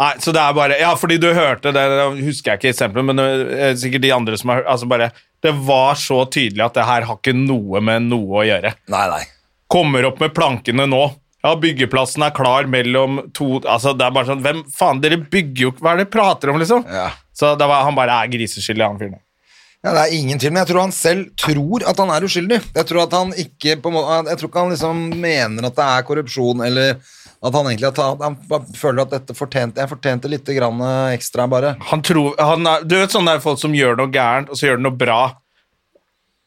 Nei, så det er bare Ja, fordi du hørte det, det husker jeg ikke eksempelet, men eh, sikkert de andre som har hørt Altså, bare Det var så tydelig at det her har ikke noe med noe å gjøre. Nei, nei. Kommer opp med plankene nå. Ja, byggeplassen er klar mellom to Altså, det er bare sånn Hvem faen, dere bygger jo ikke Hva er det dere prater om, liksom? Ja. Så det var, han bare er griseskyldig, han fyren. Ja, det er ingen tvil, men jeg tror han selv tror at han er uskyldig. Jeg tror, at han ikke, på en måte, jeg tror ikke han liksom mener at det er korrupsjon, eller at han egentlig har tatt, han bare føler at dette fortjente, jeg fortjente litt grann eh, ekstra bare. Han tror han er, Du vet sånne der folk som gjør noe gærent, og så gjør de noe bra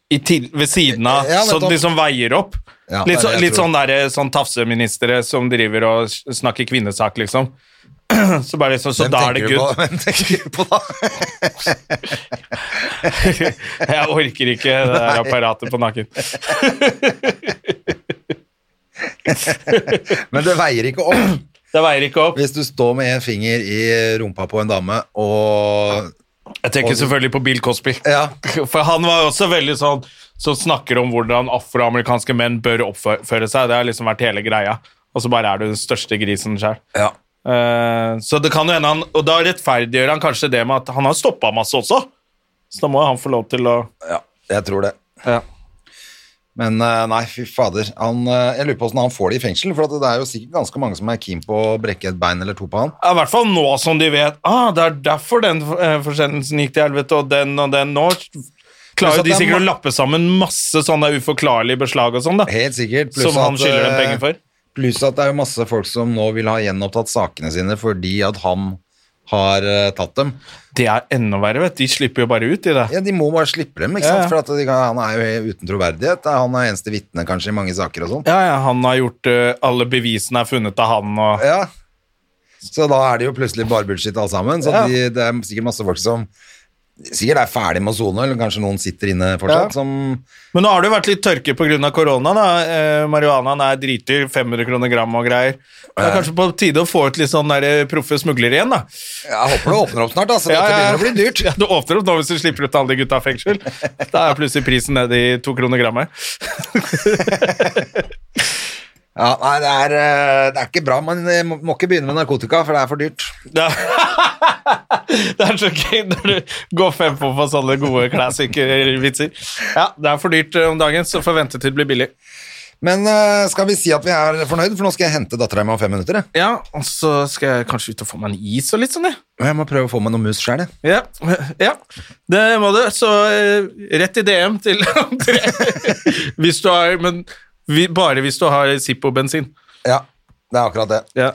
i til, ved siden av, Ja, så nettopp. de liksom veier opp. Ja, det er litt så, det jeg litt tror. sånn, der, sånn tafseministre som driver og s- snakker kvinnesak, liksom. Så bare liksom, så Hvem da er det tenker du på? good. Hvem tenker du på da? Jeg orker ikke det der apparatet på nakken. Men det veier ikke opp Det veier ikke opp. hvis du står med en finger i rumpa på en dame, og Jeg tenker selvfølgelig på Bill Cosby. ja, For han var jo også veldig sånn som snakker om hvordan afroamerikanske menn bør oppføre seg. Det har liksom vært hele greia. Og så bare er du den største grisen sjøl. ja. Eh, så det kan jo hende han Og da rettferdiggjør han kanskje det med at han har stoppa masse også. Så da må jo han få lov til å ja, jeg tror det. ja. Men eh, nei, fy fader. Han, eh, jeg lurer på hvordan han får det i fengsel, for at det er jo sikkert ganske mange som er keen på å brekke et bein eller to på han. I hvert fall nå som de vet ah, det er derfor den eh, forsendelsen gikk til helvete, og den og den nå Pluss Klarer at de det er sikkert ma- å lappe sammen masse sånne uforklarlige beslag og sånn, da. Helt sikkert. Som han skylder dem eh, penger for. Pluss at det er jo masse folk som nå vil ha gjenopptatt sakene sine fordi at han har eh, tatt dem. Det er enda verre, vet du. De slipper jo bare ut, de der. Ja, De må bare slippe dem, ikke Ja, sant? ja. for at de, kan- han er jo helt uten troverdighet. Han er eneste vitne kanskje i mange saker og sånn. Ja, ja, han har gjort eh, Alle bevisene er funnet av han, og Ja. Så da er det jo plutselig bare bullshit alle sammen. Så Ja. de, det er sikkert masse folk som sikkert er ferdig med å sone, eller kanskje noen sitter inne Ja. fortsatt, som Men nå har det jo vært litt tørke pga. korona. da. Eh, Marihuanaen er dritdyr, 500 kroner gram og greier. Det er kanskje på tide å få ut litt sånn der, eh, proffe smuglere igjen, da. Jeg håper det åpner opp snart, altså. Dette Ja, ja, ja. begynner å bli dyrt. Ja, det åpner opp nå hvis du slipper ut alle de gutta i fengsel. Da er plutselig prisen nede i to kroner grammet. Ja, nei, det er, eh, det er ikke bra. Man eh, må må ikke begynne med narkotika, for det er for dyrt. Det er, det er så gøy når du går fem på for sånne gode classic-vitser. Ja, det er for dyrt eh, om dagen, så får ventetid bli billig. Men eh, skal vi si at vi er fornøyd, for nå skal jeg hente dattera mi om fem minutter. Jeg. Ja, og så skal jeg kanskje ut og få meg en is og litt sånn, jeg. Og jeg må prøve å få meg noe mus sjøl, jeg. Ja. ja. Det må du. Så eh, rett i DM til André. hvis du har, men vi, bare hvis du har Zippo-bensin. Ja, det er akkurat det. Ja.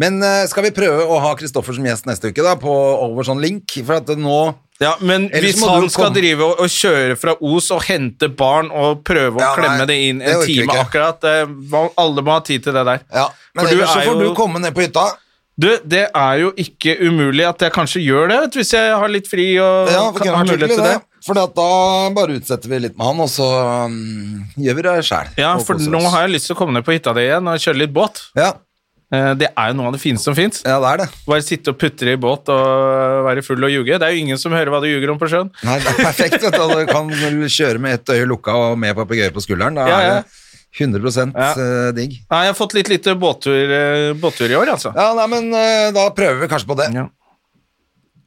Men eh, skal vi prøve å ha Kristoffer som gjest neste uke, da, på over sånn link? For at nå Ja, men Ellers hvis må du han jo skal komme- drive og, og kjøre fra Os og hente barn og prøve å Ja, nei, klemme det inn det en orker vi time ikke. akkurat eh, hva- Alle må ha tid til det der. Ja, men For du ellers så er får jo- du komme ned på hytta. Du, det er jo ikke umulig at jeg kanskje gjør det, vet du, hvis jeg har litt fri og Ja, kan vi kunne ha vært mulighet hyggelig, til det. det. For da bare utsetter vi litt med han, og så mm, gjør vi det sjæl. Ja, for nå har jeg lyst til å komme ned på hytta di igjen og kjøre litt båt. ja, Eh, Det er jo noe av det fineste som fins. ja, det er det. Bare sitte og putre i båt og eh, være full og ljuge. Det er jo ingen som hører hva du ljuger om på sjøen. Nei, det er perfekt. Vet du. du kan kjøre med ett øye lukka og med papegøye på skulderen. Da Ja, ja. er det 100 Ja. eh, digg. Nei, jeg har fått litt lite båttur, eh, båttur i år, altså. Ja, nei, men eh, da prøver vi kanskje på det. Ja.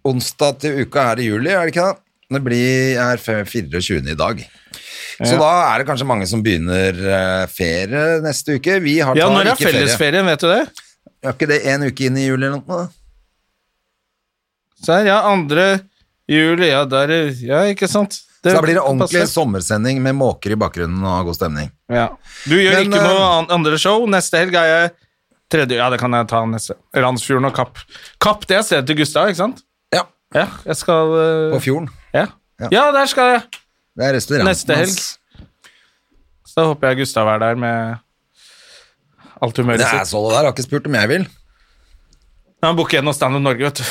Onsdag til uka er det juli, er det ikke det? Det blir, er fe- 24. i dag. Så da er det kanskje mange som begynner eh, ferie neste uke. Vi har Ja, tar når er ikke ferie. fellesferien, vet du det? Er ikke det en uke inn i juli eller noe? Så her, ja, andre juli, ja, der er Ja, ikke sant? Så da blir det ordentlig passer. sommersending med måker i bakgrunnen og god stemning. Ja. Du gjør Men, ikke noe eh, an- andre show. Neste helg er jeg tredje Ja, det kan jeg ta neste. Randsfjorden og Kapp. Kapp, det er stedet til Gustav, ikke sant? Ja, Ja, jeg skal eh, på fjorden. ja. Ja. Ja. der skal jeg. Det er restauranten Neste helg. hans. Så da håper jeg Gustav er der med alt humøret Det er sitt. så det der, har ikke spurt om jeg vil. Han booker gjennom Stand Up Norge, vet du.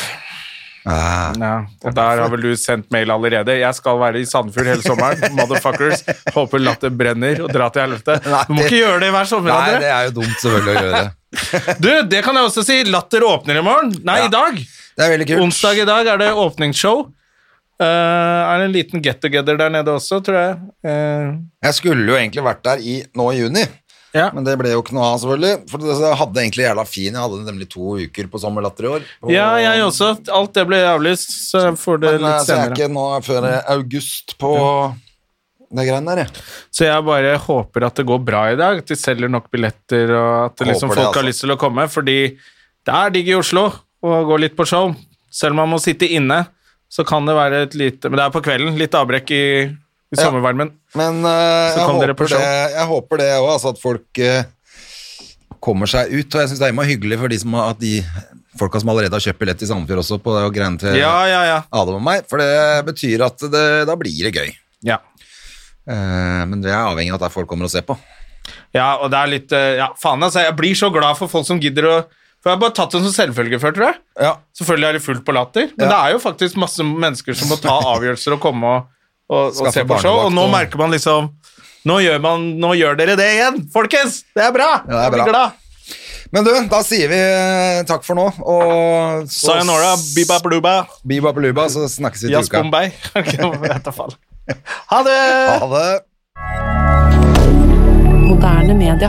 Ah. Ja, og der har vel du sendt mail allerede. Jeg skal være i Sandefjord hele sommeren. Motherfuckers. Håper latter brenner og drar til helvete. Nei, Du må det- ikke gjøre det hver sommer, Nei, det André. er jo dumt selvfølgelig å gjøre det. Du, det kan jeg også si. Latter åpner i morgen. Nei, i dag. Det er veldig kult. Onsdag i dag er det åpningsshow. Eh, er det en liten get together der nede også, tror jeg. Eh, Jeg skulle jo egentlig vært der i, nå i juni, ja. men det ble jo ikke noe av selvfølgelig. For det jeg hadde egentlig jævla fin, jeg hadde nemlig to uker på sommerlatter i år. Og- ja, jeg også. Alt det ble avlyst, så jeg får det Men eh, litt så jeg er senere. Mm. ikke nå før i august på det greiene der, jeg. Så jeg bare håper at det går bra i dag, at de selger nok billetter, og at det liksom Håper det, folk altså. har lyst til å komme. Fordi det er digg i Oslo å gå litt på show. Selv om man må sitte inne, så kan det være et lite Men det er på kvelden. Litt avbrekk i, i Ja. sommervarmen. Men eh, jeg, kom dere på håper det, show. jeg håper det òg, altså at folk eh, kommer seg ut. Og jeg syns det er innmari hyggelig for de som har, at de folka som allerede har kjøpt billett i Sandefjord også, på det og greiene til Ja, ja, ja. Adam og meg, for det betyr at det, da blir det gøy. ja. Eh, men det er avhengig av at det er folk kommer og ser på. Ja, og det er litt eh, Ja, faen, altså. Jeg blir så glad for folk som gidder å For jeg har bare tatt det som selvfølge før, tror jeg. Ja. Selvfølgelig er det fullt på latter, men Ja. det er jo faktisk masse mennesker som må ta avgjørelser og komme og, og, og Skaffe se på show. Og barnevakt nå og- merker man liksom nå gjør, man, nå gjør dere det igjen, folkens! Det er bra! det er Jeg blir bra. glad. Men du, da sier vi eh, takk for nå, og så Sayonara, biba bluba, Biba Bluba, så snakkes vi til jazz uka. bombay. Ok, jeg vet da faen. Ha det! Ha det. Moderne media.